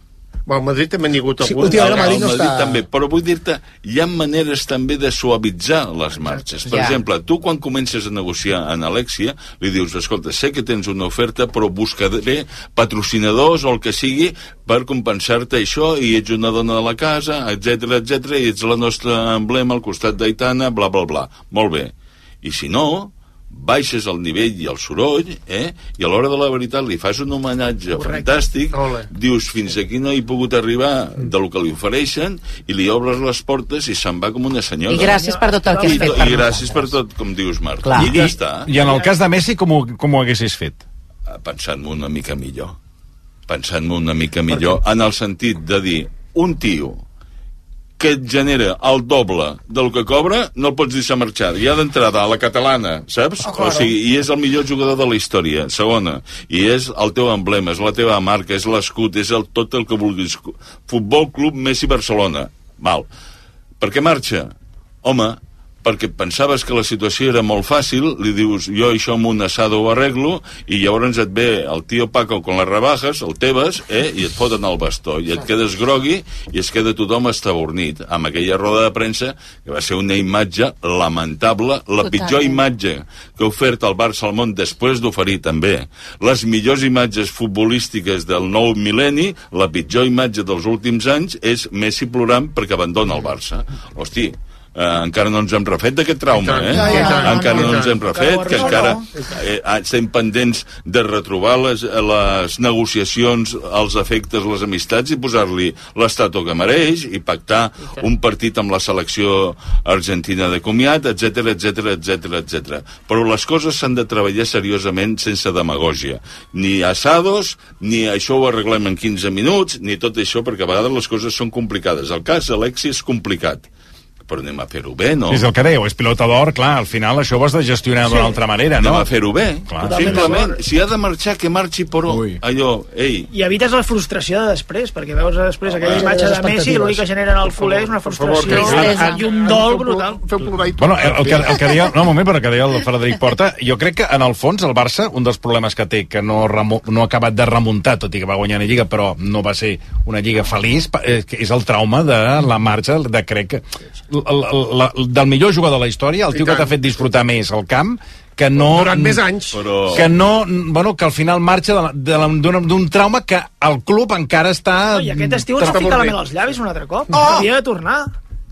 S6: Bueno, a Madrid també n'hi ha hagut
S1: Sí,
S6: alguns.
S1: últimament a Madrid
S11: El
S1: no
S11: Madrid
S1: està-
S11: també, però vull dir-te, hi ha maneres també de suavitzar les marxes. Per
S12: Ja.
S11: exemple, tu quan comences a negociar en Alexia, li dius, escolta, sé que tens una oferta, però buscaré patrocinadors o el que sigui per compensar-te això, i ets una dona de la casa, etc etc i ets la nostra emblema al costat d'Aitana, bla, bla, bla. Molt bé. I si no, baixes el nivell i el soroll, eh? i a l'hora de la veritat li fas un homenatge Correcte. fantàstic,
S6: Ole.
S11: dius fins aquí no he pogut arribar de lo que li ofereixen i li obres les portes i se'n va com una senyora.
S12: I gràcies per tot el que
S11: I,
S12: has fet per
S11: i gràcies per
S12: nosaltres.
S11: tot, com dius, Marc.
S12: Clar.
S11: I ja està,
S2: I en el cas de Messi, com ho, com ho haguessis fet?
S11: pensant-m'ho una mica millor. Pensant-m'ho una mica millor, en el sentit de dir, un tio que et genera el doble del que cobra, no el pots deixar marxar. Ja d'entrada, a la catalana, saps? Oh, claro. O sigui, i és el millor jugador de la història, segona. I és el teu emblema, és la teva marca, és l'escut, és el, tot el que vulguis. Futbol Club Messi Barcelona. Val. Per què marxa? Home, perquè pensaves que la situació era molt fàcil, li dius, jo això amb un assado ho arreglo, i llavors et ve el tio Paco con les rebajes, el teves, eh, i et foten el bastó, i et quedes grogui, i es queda tothom estabornit, amb aquella roda de premsa, que va ser una imatge lamentable, la
S4: Totalment.
S11: pitjor imatge que ha ofert el Barça al món després d'oferir també les millors imatges futbolístiques del nou mil·lenni, la pitjor imatge dels últims anys és Messi plorant perquè abandona el Barça. Hosti, eh, encara no ens hem refet d'aquest trauma,
S6: I
S11: eh?
S6: tant, i tant, i
S11: encara no
S6: tant.
S11: ens hem refet, que encara eh, estem pendents de retrobar les, eh, les negociacions, els efectes, les amistats i posar-li l'estato que mereix i pactar un partit amb la selecció argentina de comiat, etc etc etc etc. Però les coses s'han de treballar seriosament sense demagògia. Ni assados, ni això ho arreglem en 15 minuts, ni tot això, perquè a vegades les coses són complicades. El cas Alexi és complicat, però anem a fer-ho bé, no?
S2: És el que dèieu, és pilota d'or, clar, al final això ho has de gestionar d'una altra manera,
S11: Anem
S2: no?
S11: a fer-ho bé.
S2: Clar.
S11: Simplement, si ha de marxar, que marxi, però
S2: Ui.
S11: allò, ei,
S9: i evites la frustració de després, perquè veus després aquella
S1: eh,
S9: imatge
S1: les
S9: de Messi i l'únic que genera en el culer és una
S6: Per favor,
S9: frustració
S4: Tristesa.
S9: i un dol brutal.
S6: Feu plorar i tot.
S2: Bueno, el, el, que, el que deia, no, un moment, però el que deia el Frederic Porta, jo crec que en el fons el Barça, un dels problemes que té, que no, remo, no ha acabat de remuntar, tot i que va guanyar una lliga, però no va ser una lliga feliç, pa- eh, que és el trauma de la marxa, de crec que... La, la, del millor jugador de la història, el
S6: I
S2: tio que
S6: tant.
S2: t'ha fet disfrutar més el camp, que no...
S6: Durant més anys.
S11: però...
S2: Que no, bueno, que al final marxa de la- de la- d'un d'un trauma que el club encara està...
S9: No, I aquest estiu ens
S6: Està
S9: va
S6: molt
S9: ficar la
S6: bé.
S9: mena als llavis un altre cop. Oh! Havia de tornar.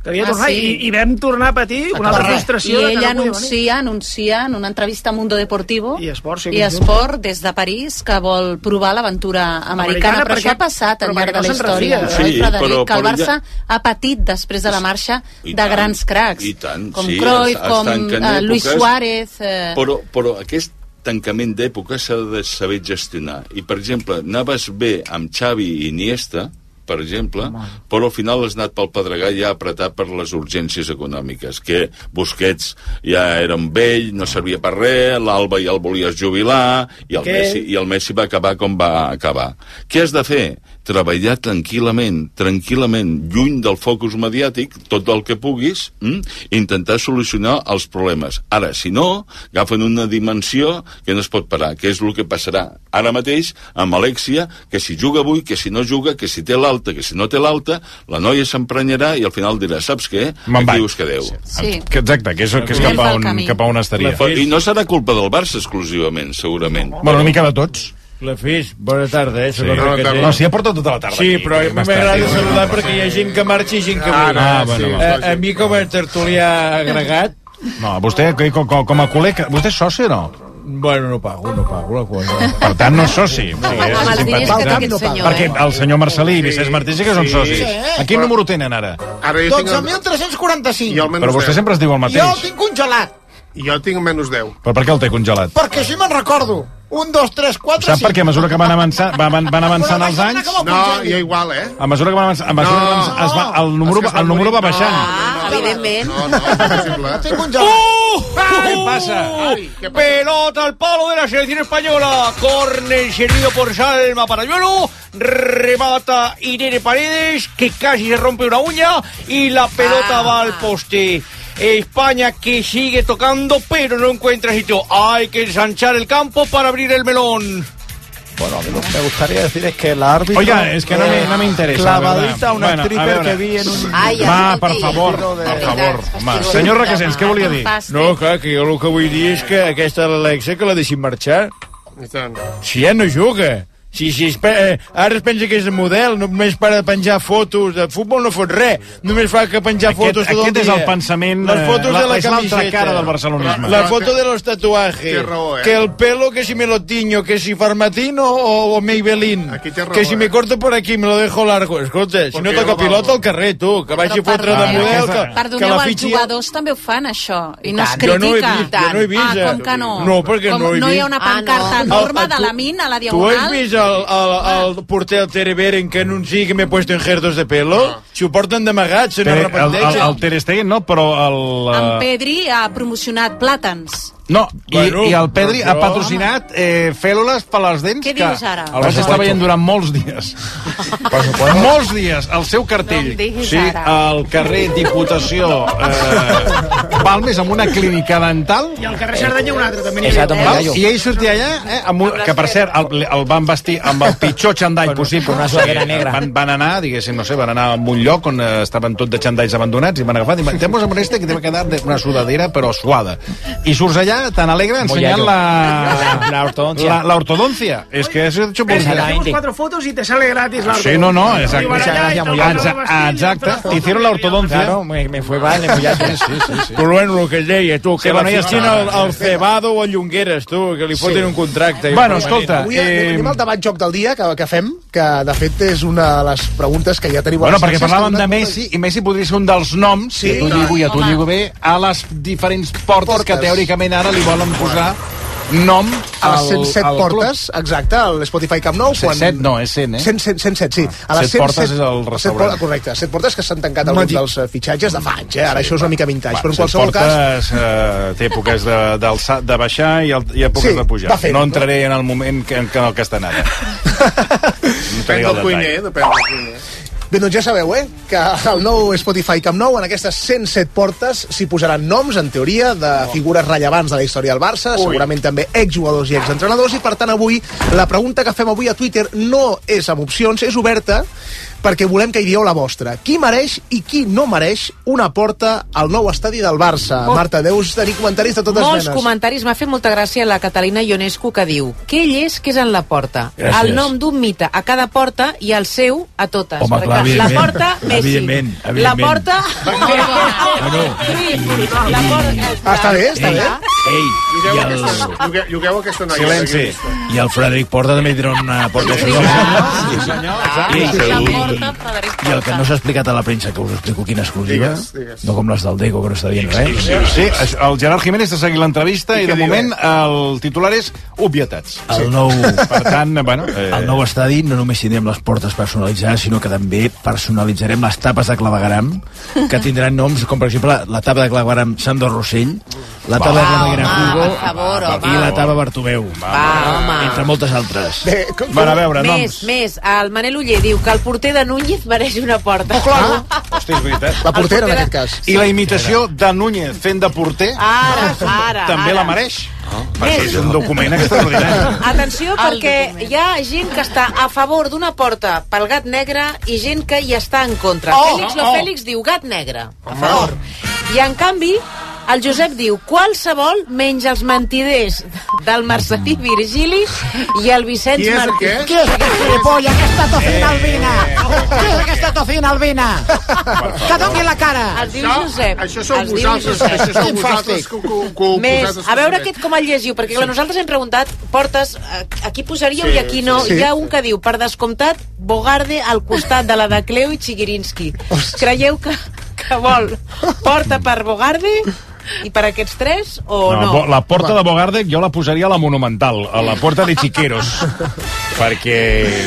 S9: Que havia
S4: Ah,
S9: de tornar
S4: sí?
S9: i, i vam tornar a patir una altra
S4: I
S9: frustració. de que
S4: ell
S9: no podia venir.
S4: anuncia, anuncia en una entrevista a Mundo Deportivo
S9: I Esport, sí,
S4: i
S9: conjunt.
S4: Esport des de París que vol provar l'aventura americana.
S9: Americana,
S4: Però
S9: perquè-
S4: això ha passat al
S9: però
S4: llarg de
S9: perquè
S4: la
S9: no se'n
S4: història,
S9: refia,
S4: oi,
S11: Sí,
S4: Frederic?
S11: però-
S4: que el
S11: però ja-
S4: Barça ha patit després de la marxa
S11: I
S4: de
S11: tant,
S4: grans cracs,
S11: i tant,
S4: com
S11: sí,
S4: Cruyff,
S11: es- es
S4: com
S11: tanquen
S4: eh, Luis
S11: èpoques,
S4: Suárez... Eh...
S11: Però, però aquest tancament d'època s'ha de saber gestionar. I, per exemple, anaves bé amb Xavi i Iniesta, per exemple, però al final has anat pel Pedregà ja apretat per les urgències econòmiques, que Busquets ja era un vell, no servia per res, l'Alba ja el volia jubilar, i el,
S9: Què?
S11: Messi, i el Messi va acabar com va acabar. Què has de fer? Treballar tranquil·lament, tranquil·lament, lluny del focus mediàtic, tot el que puguis, mm? intentar solucionar els problemes. Ara, si no, agafen una dimensió que no es pot parar, que és el que passarà ara mateix amb Alexia, que si juga avui, que si no juga, que si té l'alta, que si no té l'alta, la noia s'emprenyarà i al final dirà, saps què?
S2: Me'n
S11: Aquí
S2: vaig."
S11: us quedeu.
S4: Sí.
S2: Que exacte, que és, que és cap, a on, cap a on estaria.
S11: I no serà culpa del Barça exclusivament, segurament.
S2: Bueno, una mica de tots.
S10: La FIS, bona tarda, eh? segons el que sé.
S2: No, si ha portat tota la tarda.
S10: Sí,
S2: aquí,
S10: però a mi
S2: bastant.
S10: m'agrada saludar perquè hi ha gent que marxa i gent que
S2: Ah,
S10: ve.
S2: no, Ah, bueno, sí, va.
S10: a, a mi com a tertulià agregat,
S2: No, vostè, que- com, com a col·lega... Vostè és soci o no?
S10: bueno, no pago, no pago la quota.
S2: Per tant, no és soci. O sigui, és
S10: els diners que té
S2: simpatitzant.
S10: aquest senyor,
S2: Perquè
S10: eh?
S2: el senyor Marcelí i Vicenç Martí sí que són
S10: Sí.
S2: socis.
S10: Sí.
S2: A quin número tenen ara?
S6: Ara jo tinc... El...
S13: 12.345.
S6: Jo almenys
S2: Però vostè
S6: deu.
S2: sempre es diu el
S13: Jo el
S2: mateix.
S13: tinc congelat,
S6: Jo tinc menys 10.
S2: Però per què el té congelat?
S13: perquè així me'n recordo. Un, dos, tres, quatre,
S2: Sap per què a mesura que van avançant, van, van avançant
S13: Però
S2: els
S13: deixa'm anar
S2: anys...
S13: que me'l
S6: No, jo igual, eh?
S2: A mesura que van avançant, a mesura que van, es va, el número, el número va baixant.
S10: Ah,
S12: Evidentment.
S5: ¡Uh!
S10: ¿Qué pasa?
S5: Pelota al palo de la selección española. Corner servido por Salma Parayuelo. Remata Irene Paredes, que casi se rompe una uña. Y la pelota va al poste. España que sigue tocando, pero no encuentra sitio. Hay que ensanchar el campo para abrir el melón.
S3: Bueno, a mí lo que me gustaría decir es que el árbitro...
S2: Oiga, es que no me- no me interesa, la
S3: Clavadita
S2: verdad.
S3: a una
S2: Bueno, a
S3: stripper
S2: veure.
S3: que vi en un...
S2: Va, per favor, per favor. Home, senyor Requesens, què volia dir?
S10: No, clar, que jo el que vull dir és que aquesta Alexa que la deixin marxar. Si ja no juga. Si, si es pe... eh, ara es pensa que és el model, només para de penjar fotos. De futbol no fot res, només fa que penjar
S2: Aquest,
S10: fotos tot
S2: aquest
S10: el
S2: és
S10: dia.
S2: el pensament...
S10: Les fotos
S2: eh,
S10: de la
S2: és l'altra
S10: camiseta.
S2: cara del barcelonisme.
S10: La foto de los tatuajes.
S6: Té raó, eh?
S10: Que el pelo, que si me lo tiño, que si Farmatino o, o Maybelline.
S6: té raó,
S10: que si
S6: eh?
S10: me corto por aquí, me lo dejo largo. Escolta, si no
S6: Porque
S10: toca
S6: no va-
S10: pilota al carrer, tu, que vagi a fotre de model, que, que
S4: Perdoneu,
S10: la
S4: els
S10: fitxi...
S4: jugadors també ho fan, això, i no es
S10: Jo
S4: critica.
S10: no ho he vist, jo no he vist,
S4: Ah,
S10: eh.
S4: com que no?
S10: No, perquè
S4: com,
S10: no he
S4: No hi
S10: vist.
S4: ha una
S12: Ah, no.
S4: pancarta
S12: El-
S4: enorme
S10: el-
S4: de la min a la
S10: ¿Tú has
S4: diagonal?
S10: vist el, el, el porter el Tere Beren que anuncia que m'he puesto en gerdos de pelo? Si ho porten d'amagat, se no
S2: Tere- el, el, el
S10: repenteixen.
S2: Ter Stegen no, però el...
S4: En
S2: eh,
S4: Pedri ha promocionat plàtans.
S2: No, i,
S10: Bueno,
S2: i el Pedri
S10: però
S2: ha
S10: jo-
S2: patrocinat eh, fèl·lules per les dents
S4: Què dius ara?
S2: el vaig estar veient durant molts dies. molts dies, el seu cartell.
S4: No em diguis
S2: sí,
S4: ara.
S2: al carrer Diputació eh, Balmes, amb una clínica dental,
S9: I al carrer Cerdanya un altre, també n'hi
S3: Exacte,
S9: havia.
S3: amb
S2: Val?
S3: Gallo.
S2: I ell sortia allà, eh, amb un, que per cert, el, el van vestir amb el pitjor xandall possible.
S3: una suadera negra.
S2: Van, van anar, diguéssim, no sé, van anar a un lloc on eh, estaven tot de xandalls abandonats i van agafar, i van, te pones amb este que te va quedar de- una sudadera però suada. I surts allà tan alegre ensenyant
S3: Mollejo.
S2: la...
S3: La ortodoncia.
S2: La, la ortodoncia. És que és un
S9: Ves,
S2: xupollo.
S9: hacemos cuatro fotos y te sale gratis la
S2: Sí, no, no, exacte.
S9: Diu, ara ja,
S2: Exacte,
S9: i
S2: exacte,
S9: te'l vas a vestir, i
S2: exacte.
S9: te'l
S2: Hicieron la ortodoncia.
S3: Claro, me, me fue mal, me
S2: Sí, sí, sí, sí.
S10: Però bueno, el que et deia, tu,
S2: Sí,
S10: que la
S2: bueno, ja està.
S10: festin al, al Cebado o a Llongueres, tu, que li fotin un contracte.
S2: Bueno, escolta,
S1: Avui
S2: eh,
S1: anem al debat joc del dia que, que fem, que de fet és una de les preguntes que ja tenim... a
S2: Bueno,
S1: les
S2: perquè
S1: xarxes,
S2: parlàvem
S1: que
S2: de
S1: donem moltes-
S2: Messi, i Messi podria ser un dels noms, sí,
S1: Sí,
S2: tu
S1: clar.
S2: lligo i a tu
S4: Home.
S2: lligo bé, a les diferents portes,
S1: Portes.
S2: que teòricament ara li volen posar nom
S1: a les
S2: al-
S1: 107
S2: al club.
S1: portes, exacte, a l'Spotify Camp Nou.
S2: 107 no, és 100, eh?
S1: 100, 100, 107, sí. A les
S2: 100 portes és el
S1: 107
S2: restaurant.
S1: portes, correcte, 100 portes que s'han tancat
S2: M'ha
S1: alguns
S2: dit-
S1: dels eh, fitxatges de fa anys, eh? Ara
S2: Sí,
S1: això és una mica vintage, però en qualsevol cas...
S2: portes, Eh, té èpoques de, d'alçar, de baixar i, el, i èpoques
S1: Sí,
S2: de pujar.
S1: va fent,
S2: no
S1: no?
S2: entraré en el moment que, en, en el que està anant.
S6: Depèn del cuiner, eh, depèn del cuiner.
S1: Bé, doncs ja sabeu, eh?, que el nou Spotify Camp Nou, en aquestes 107 portes, s'hi posaran noms, en teoria, de
S13: Oh.
S1: figures rellevants de la història del Barça, segurament també exjugadors i exentrenadors, i per tant avui, la pregunta que fem avui a Twitter no és amb opcions, és oberta, perquè volem que hi dieu la vostra. Qui mereix i qui no mereix una porta al nou estadi del Barça?
S12: Oh.
S1: Marta, deus tenir comentaris de totes
S12: Molts
S1: menes.
S12: comentaris. M'ha fet molta gràcia la Catalina Ionescu que diu que ell és que és en la porta.
S10: Gràcies.
S12: El nom d'un mite a cada porta i el seu a totes.
S10: Home, clar,
S12: la
S10: evidentment.
S12: porta, Messi.
S10: Evidentment, evidentment.
S12: La porta...
S10: Ah, Bueno. eh,
S12: Cruyff. La porta...
S6: Ah,
S1: Està bé, està bé.
S10: Ei,
S6: Llogueu,
S10: i el-
S6: aquesta, llogueu, llogueu aquesta noia.
S10: Silenci.
S6: periodista.
S10: I el Frederic Porta també tindrà una porta.
S6: Sí,
S10: senyor.
S6: senyor.
S10: Sí, senyor.
S6: Ah,
S10: I-
S6: sí.
S10: i-
S6: Porta,
S10: I el que no s'ha explicat a la premsa, que us explico quina exclusiva,
S2: Digues, digues.
S10: no eh? com les del Deco, que no està dient res.
S2: Sí, sí, això- el Gerard Jiménez està seguint l'entrevista i, de moment el titular és obvietats.
S10: El nou-
S2: Per tant, bueno... Eh,
S10: Al nou estadi no només tindrem les portes personalitzades, sinó que també personalitzarem les tapes de clavegaram, que tindran noms com, per exemple, la tapa de clavegaram Sandor Rossell, la tapa de clavegaram Hugo
S12: per favor,
S10: i
S12: home.
S10: la tapa Bartomeu.
S12: Va, home.
S10: Entre moltes altres.
S1: Bé,
S10: Van a veure,
S12: Més,
S10: noms.
S12: més. El Manel Uller diu que el porter de Núñez mereix una porta. Ah,
S2: Hosti, és veritat.
S1: La portera, en
S12: El porter-
S1: aquest cas.
S2: I la imitació de Núñez fent de porter
S12: Ara, ara,
S2: també
S12: ara.
S2: la
S12: Ah.
S2: mereix. No,
S12: Més.
S2: és un document extraordinari.
S12: Atenció, perquè hi ha gent que està a favor d'una porta pel gat negre i gent que hi està en contra.
S14: Oh,
S12: Fèlix
S14: oh,
S12: Lo
S14: oh.
S12: Fèlix diu gat negre, a favor. I, en canvi, el Josep diu qualsevol menys els mentiders del Marcelí Virgili i el Vicenç
S6: Qui és Eh.
S12: Martí.
S6: aquest?
S12: Qui és aquest gilipolles? Aquesta
S13: Tocina albina! Què és aquesta tocina albina? Que doni la cara!
S12: El diu Josep.
S6: Això sou
S12: Els diu
S6: vosaltres,
S12: Josep.
S6: això sou
S12: Quin
S6: vosaltres
S12: fàstic.
S6: que, que, que ho
S12: Més,
S6: vosaltres
S12: a veure
S6: que-
S12: aquest com el llegiu, perquè clar, nosaltres hem preguntat portes, a, a qui posaríeu
S6: Sí,
S12: i a qui no.
S6: sí.
S12: Hi ha un que diu, per descomptat, Bogarde al costat de la de Cleu i Chigirinsky. Creieu que, que vol porta per Bogarde i per aquests tres o no?
S2: bo- La porta de Bogarde jo la posaria a la Monumental, a la porta de Chiqueros. perquè...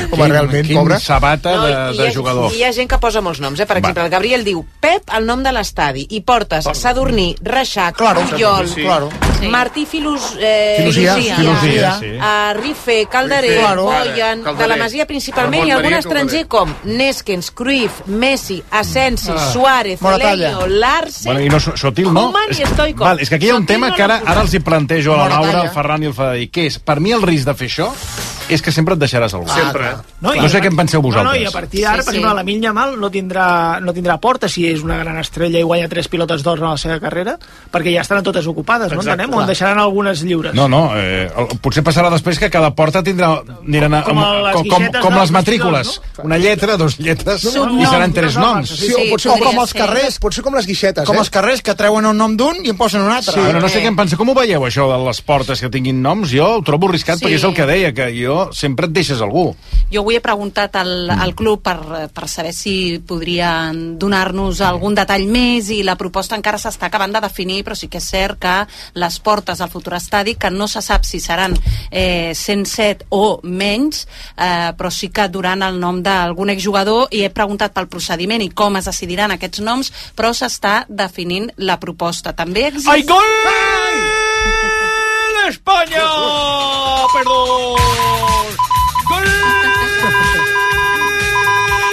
S1: Home, realment,
S2: quin
S1: pobre.
S2: sabata de,
S12: No, i
S2: de
S12: hi ha-
S2: jugador.
S12: I hi ha gent que posa molts noms, eh? Per exemple, el Gabriel diu Pep, el nom de l'estadi, i portes Sadurní, Reixac,
S13: Claro,
S12: Puyol,
S13: sí. Claro.
S12: Martí Filus, eh,
S13: Filusia,
S2: Filusia, sí.
S12: eh, Rife, Calderer,
S13: Rife,
S12: claro.
S13: claro.
S12: Boyan,
S13: Calderer.
S12: de la Masia principalment,
S13: Ramon
S12: i algun
S13: Maria
S12: estranger com Neskens, Cruyff, Messi, Asensi,
S2: Ah.
S12: Suárez,
S2: Moratalla.
S12: Leño, Larsen...
S2: Bueno, i no, so- Sotil no?
S12: Koeman i
S2: És que-
S12: Stoico.
S2: Val, és que aquí hi ha un
S12: Sotil
S2: tema
S12: no
S2: que ara,
S12: l'ha
S2: ara els hi plantejo a la
S12: Moratalla.
S2: Laura, al Ferran i al Federic, que és, per mi el risc de fer això és que sempre et deixaràs algú.
S9: Ah, Sempre.
S2: No, no sé què en penseu vosaltres.
S9: No, no, i a partir d'ara,
S12: Sí,
S9: sí, per
S12: sí.
S9: exemple, la Minya Mal no tindrà, no tindrà porta si és una gran estrella i guanya tres pilotes d'or en la seva carrera, perquè ja estan totes ocupades, no
S2: Exacte.
S9: entenem? O en eh, deixaran algunes lliures?
S2: No, no, eh, el- potser passarà després que cada porta tindrà... Aniran a,
S9: Com a les
S2: com, com,
S9: guixetes
S2: com
S9: dels
S2: les matrícules.
S9: vestidors,
S2: Una lletra, dos lletres,
S13: Són
S2: i seran
S13: noms,
S2: tres
S13: no
S2: noms.
S13: Sí, o potser
S1: podria
S13: com els
S1: ser.
S13: carrers.
S1: Potser com les guixetes,
S13: Com
S1: eh?
S13: els carrers, que treuen un nom d'un i en posen un altre.
S2: Sí, bueno, no sé què en penseu. Com ho veieu, això de les portes que tinguin noms? Jo ho trobo arriscat,
S4: Sí.
S2: perquè és el que deia, que jo sempre et deixes algú.
S4: Jo avui he preguntat al, al club per, per saber si podrien donar-nos algun detall més i la proposta encara s'està acabant de definir, però sí que és cert que les portes al futur estadi, que no se sap si seran eh, 107 o menys, eh, però sí que duran el nom d'algun exjugador i he preguntat pel procediment i com es decidiran aquests noms, però s'està definint la proposta. També existeix...
S5: ¡Hay gol! ¡España! ¡Perdón! ¡Gol!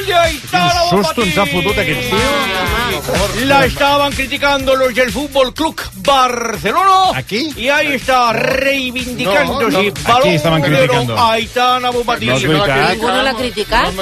S5: Y ahí está la bomba
S2: Susto ens ha fotut aquest tio.
S5: La estaban criticando los del Fútbol Club Barcelona.
S2: ¿Aquí?
S5: Y ahí está reivindicando.
S2: No, no.
S5: sí,
S2: Aquí
S5: balón
S2: estaban
S5: de oro,
S2: criticando.
S5: Aitana Bombadilla.
S2: No es verdad.
S12: Ningú l'ha criticat?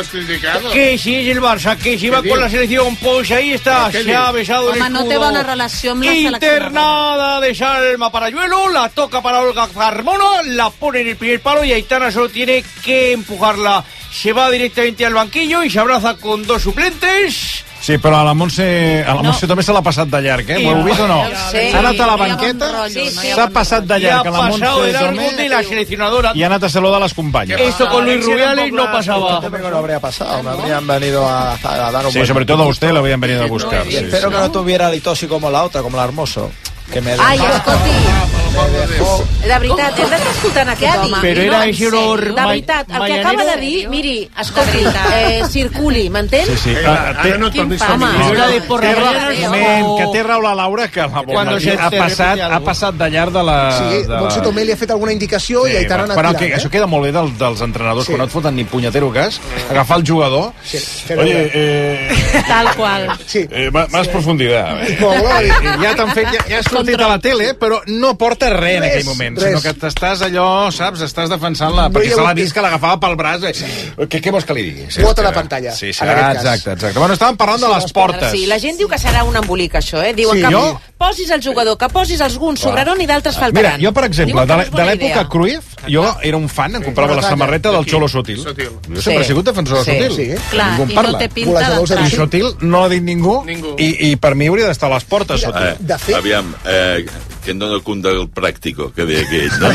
S5: Que si es el Barça, que si va
S12: ¿Qué
S5: con la
S12: dices?
S5: selección, pues ahí está,
S12: ¿Pero qué
S5: se ha
S12: dices?
S5: besado el
S4: Home, no té
S5: escudo.
S4: bona relació amb la
S5: Internada de Salma Parayuelo, la toca para Olga Carmona, la pone en el primer palo y Aitana solo tiene que empujarla. Se va directamente al banquillo y se abraza con dos suplentes.
S2: Sí, però a la Montse, a la Montse també se l'ha passat de llarg, eh? Ho heu vist o no?
S5: Sí.
S2: S'ha anat a la
S5: No hi ha bon
S2: banqueta,
S5: rotllo, no hi ha
S2: s'ha
S5: bon
S2: passat de
S5: rotllo.
S2: llarg
S5: I
S2: a
S5: ha pasado de
S2: la Montse
S5: largo
S2: Tomé
S5: de la seleccionadora.
S2: i ha anat a saludar les companyes.
S5: Esto con Luis Rubiales no pasaba.
S3: También no habría pasado, me habrían venido a, a dar un
S2: Sí,
S3: buen-
S2: sobre todo a usted lo habían venido a buscar.
S3: Y
S2: Sí,
S3: espero
S2: sí.
S3: que no tuviera litosi como la otra, como la hermoso. Que me
S12: Ai,
S3: dejó-
S12: escolti,
S3: me dejó-
S12: de veritat, hem d'estar escoltant
S3: Què ha
S12: aquest
S3: dit?
S12: home.
S3: Però
S12: I
S3: era
S12: en
S3: ese
S12: sèrio.
S3: olor
S12: De
S3: ma-
S12: veritat, el que
S3: mañanero.
S12: acaba de dir, miri, escolti, eh, circuli, m'entén?
S2: Sí, sí. Ah, té-
S12: Quin pam, home.
S2: Té raó-
S12: Déu.
S2: moment, que té raó la Laura, que la
S1: Quan
S2: Bonmatí
S1: se
S2: ha
S1: te
S2: passat-
S1: repite algo.
S2: ha passat de llarg de la-
S1: Sí,
S2: Eh, de la-
S1: Montse Tomé li ha fet alguna indicació i
S2: Sí,
S1: Aitana ha anat
S2: però
S1: tirant,
S2: que,
S1: eh?
S2: això queda molt bé del, dels entrenadors,
S1: Sí.
S2: quan no et foten ni punyetero cas, agafar el jugador... Sí,
S1: però-
S2: Oye, eh,
S4: Tal qual.
S1: Sí.
S2: eh, ma- más profundidad. Eh,
S1: Molt bé.
S2: eh, ja t'han fet, ja, ja has sortit a la tele, però no porta res en
S1: Res,
S2: aquell moment,
S1: res.
S2: sinó que t'estàs allò, saps, estàs defensant-la,
S1: No hi
S2: perquè
S1: ha
S2: se l'ha
S1: hagut-
S2: vist que l'agafava pel braç. Eh? Què, què vols que li digui? Sí,
S1: Quota
S2: és que-
S1: de pantalla,
S2: Sí,
S1: en
S2: sí,
S1: aquest
S2: ah,
S1: cas.
S2: exacte, exacte. Bueno, estàvem parlant de les portes.
S12: Sí, la gent diu que serà un embolic, això, eh? Diuen
S2: Sí,
S12: que
S2: jo- Ah,
S12: posis el jugador, que posis alguns sobraran i d'altres
S2: Mira,
S12: faltaran.
S2: jo, per exemple,
S12: Diuen que
S2: de
S12: no
S2: la-
S12: és
S2: de
S12: bona
S2: l'època
S12: idea.
S2: Cruyff, jo era un fan, em comprava la
S1: Batalla.
S2: samarreta del
S1: Aquí.
S2: Xolo Sotil.
S1: Sotil.
S2: Jo sempre he sigut defensor de
S1: Sí.
S2: Sotil.
S1: Sí.
S4: Clar,
S2: Ningú en
S4: i no
S2: parla.
S4: té pinta Golejador de-
S2: I Sotil no l'ha dit ningú, i, i per mi hauria d'estar a les portes, Sotil.
S11: Eh, aviam, eh, que no de cunda el pràctico, que deia aquell, no?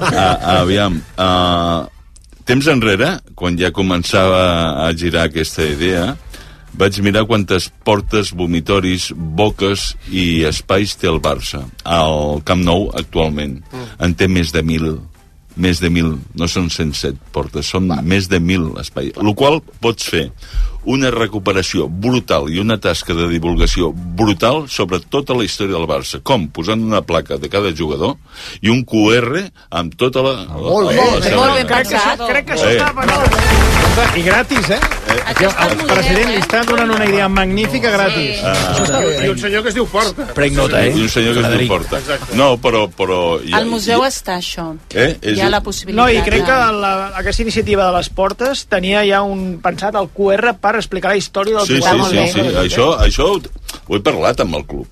S11: Ah, aviam, ah, temps enrere, quan ja començava a girar aquesta idea, vaig mirar quantes portes, vomitoris, boques i espais té el Barça al Camp Nou actualment. En té més de mil més de 1.000, no són 107 portes, són Va. més de 1.000 espais. El qual pots fer una recuperació brutal i una tasca de divulgació brutal sobre tota la història del Barça. Com? Posant una placa de cada jugador i un QR amb tota la...
S12: Ah, Molt bé, molt bé, molt ben pensat.
S9: Crec que això
S11: Eh.
S9: està per molt
S10: I gratis, eh?
S12: Això està
S10: El president li està donant una idea magnífica gratis.
S11: Ah.
S6: I un senyor que es diu Porta.
S10: Prenc nota, eh?
S11: I un senyor que es diu Porta.
S6: Exacte.
S11: No, però... però hi ha-
S4: Al museu està això.
S11: Eh?
S4: Hi ha la possibilitat.
S9: No, i crec que
S4: de-
S9: la, aquesta iniciativa de les portes tenia ja un pensat al QR per explicar la història del
S11: Sí, sí,
S9: programa.
S11: sí, sí. Això, això ho- ho he parlat amb el club.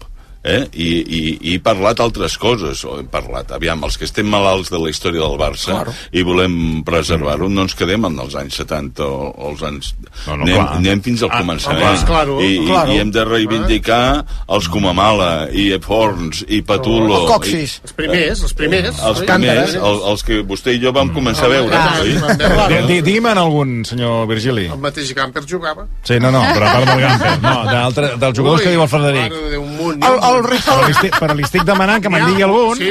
S11: Eh? I, i, i he parlat altres coses o he parlat, aviam, els que estem malalts de la història del Barça claro. i volem preservar-ho, no ens quedem en els anys 70 o, o els anys... No,
S2: no,
S11: anem,
S2: clar.
S11: anem fins al
S2: Ah,
S11: començament
S2: home, és claro,
S11: I, i,
S2: claro.
S11: i hem de reivindicar els Comamala i Forns i Patulo
S6: Els coxis.
S11: i-
S6: Els primers, els primers. eh?
S11: els,
S6: Càntares.
S11: primers els, els que vostè i jo vam començar a veure
S6: clar. Vam veure.
S11: oi?
S2: Di- Digui'm en algun, senyor Virgili.
S6: El mateix Gamper jugava.
S2: Sí, no, no, però a part del Gamper. No, d'altre- dels jugadors que diu el Frederic.
S6: Mare de Déu, un munt.
S2: El- el Rick- Però li estic- però li estic demanant que me'n
S6: N'hi ha-
S2: digui algun.
S6: Sí,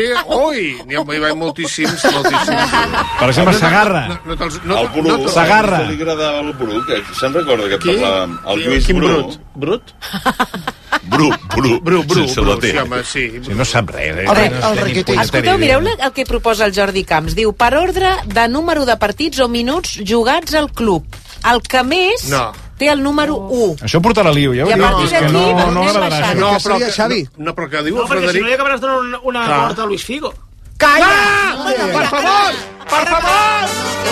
S6: ui, n'hi ha, hi va moltíssims, moltíssims.
S2: Per exemple,
S6: No, no,
S2: Sagarra.
S6: No, no, te'ls- no,
S11: el Bru,
S6: no te'ls-
S2: Sagarra.
S11: Li agradava el Bru, que Eh, se'n recorda que
S6: Qui?
S11: parlàvem? El
S6: Qui-
S11: Lluís
S6: quin
S11: Bru.
S6: Brut? Brut?
S11: Bru, Bru, Bru,
S6: Bru,
S11: sense
S6: Bru,
S11: la T.
S6: sí, home, sí.
S2: Sí, no sap res. Eh?
S12: El, re,
S2: No té ni
S12: el requitit.
S2: puta
S12: Escolteu,
S2: idea.
S12: mireu la- el que proposa el Jordi Camps. Diu, per ordre de número de partits o minuts jugats al club. El que més
S2: No.
S12: té el número 1.
S2: Això portarà lío, ja ho
S12: I a
S2: dic.
S12: partir
S2: és que
S12: d'aquí,
S2: no, no,
S12: anem
S2: m'agradarà
S12: baixant.
S2: això.
S6: No,
S2: Que
S6: però,
S2: seria
S6: que, no, però que diu
S9: No,
S6: el
S9: perquè si
S6: Frederic...
S9: no li acabaràs donant una, una
S6: Clar.
S9: porta a Luis Figo.
S12: Calla!
S9: per favor! Per favor!
S12: eh?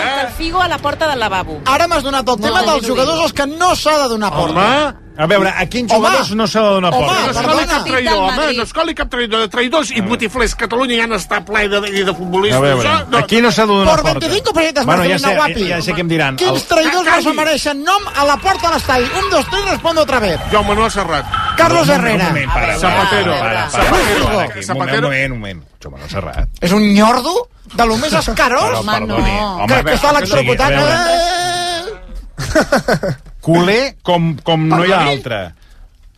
S9: Eh?
S12: El Figo a la porta del lavabo.
S13: Ara m'has donat el tema
S12: bé,
S13: dels
S12: ben
S13: jugadors als que no s'ha de donar porta.
S2: A veure, a quins
S13: Home!
S2: jugadors no s'ha de donar
S13: Home,
S2: porta?
S6: No es coli cap traïdor, home, no es coli cap traïdor. De traïdors i botiflers Catalunya ja n'està ple de, i de futbolistes.
S2: A veure,
S6: Això, no,
S2: aquí no s'ha de donar
S13: Por
S2: porta.
S13: 25 pesetas
S2: bueno, ja
S13: Barcelona
S2: sé,
S13: Guapi.
S2: ja, ja sé què em diran. El,
S13: Quins traïdors no
S6: Calli.
S13: se mereixen nom a la porta de l'estadi? Un, dos, tres, respondo otra vez.
S6: Jo, Manuel Serrat.
S13: Carlos
S2: Un moment,
S13: Herrera.
S2: Un moment, para, para,
S6: Zapatero.
S2: para, para, para, aquí,
S6: Zapatero.
S2: Un moment, un
S6: Zapatero.
S2: moment, un moment. Jo, Manuel Serrat.
S13: És un nyordo de lo més escarós
S2: Home, perdoni. Home,
S13: que,
S2: a
S13: que
S2: veure,
S13: està
S2: o sigui, a
S13: electrocutant.
S2: veure, Culer com, com no hi ha altre.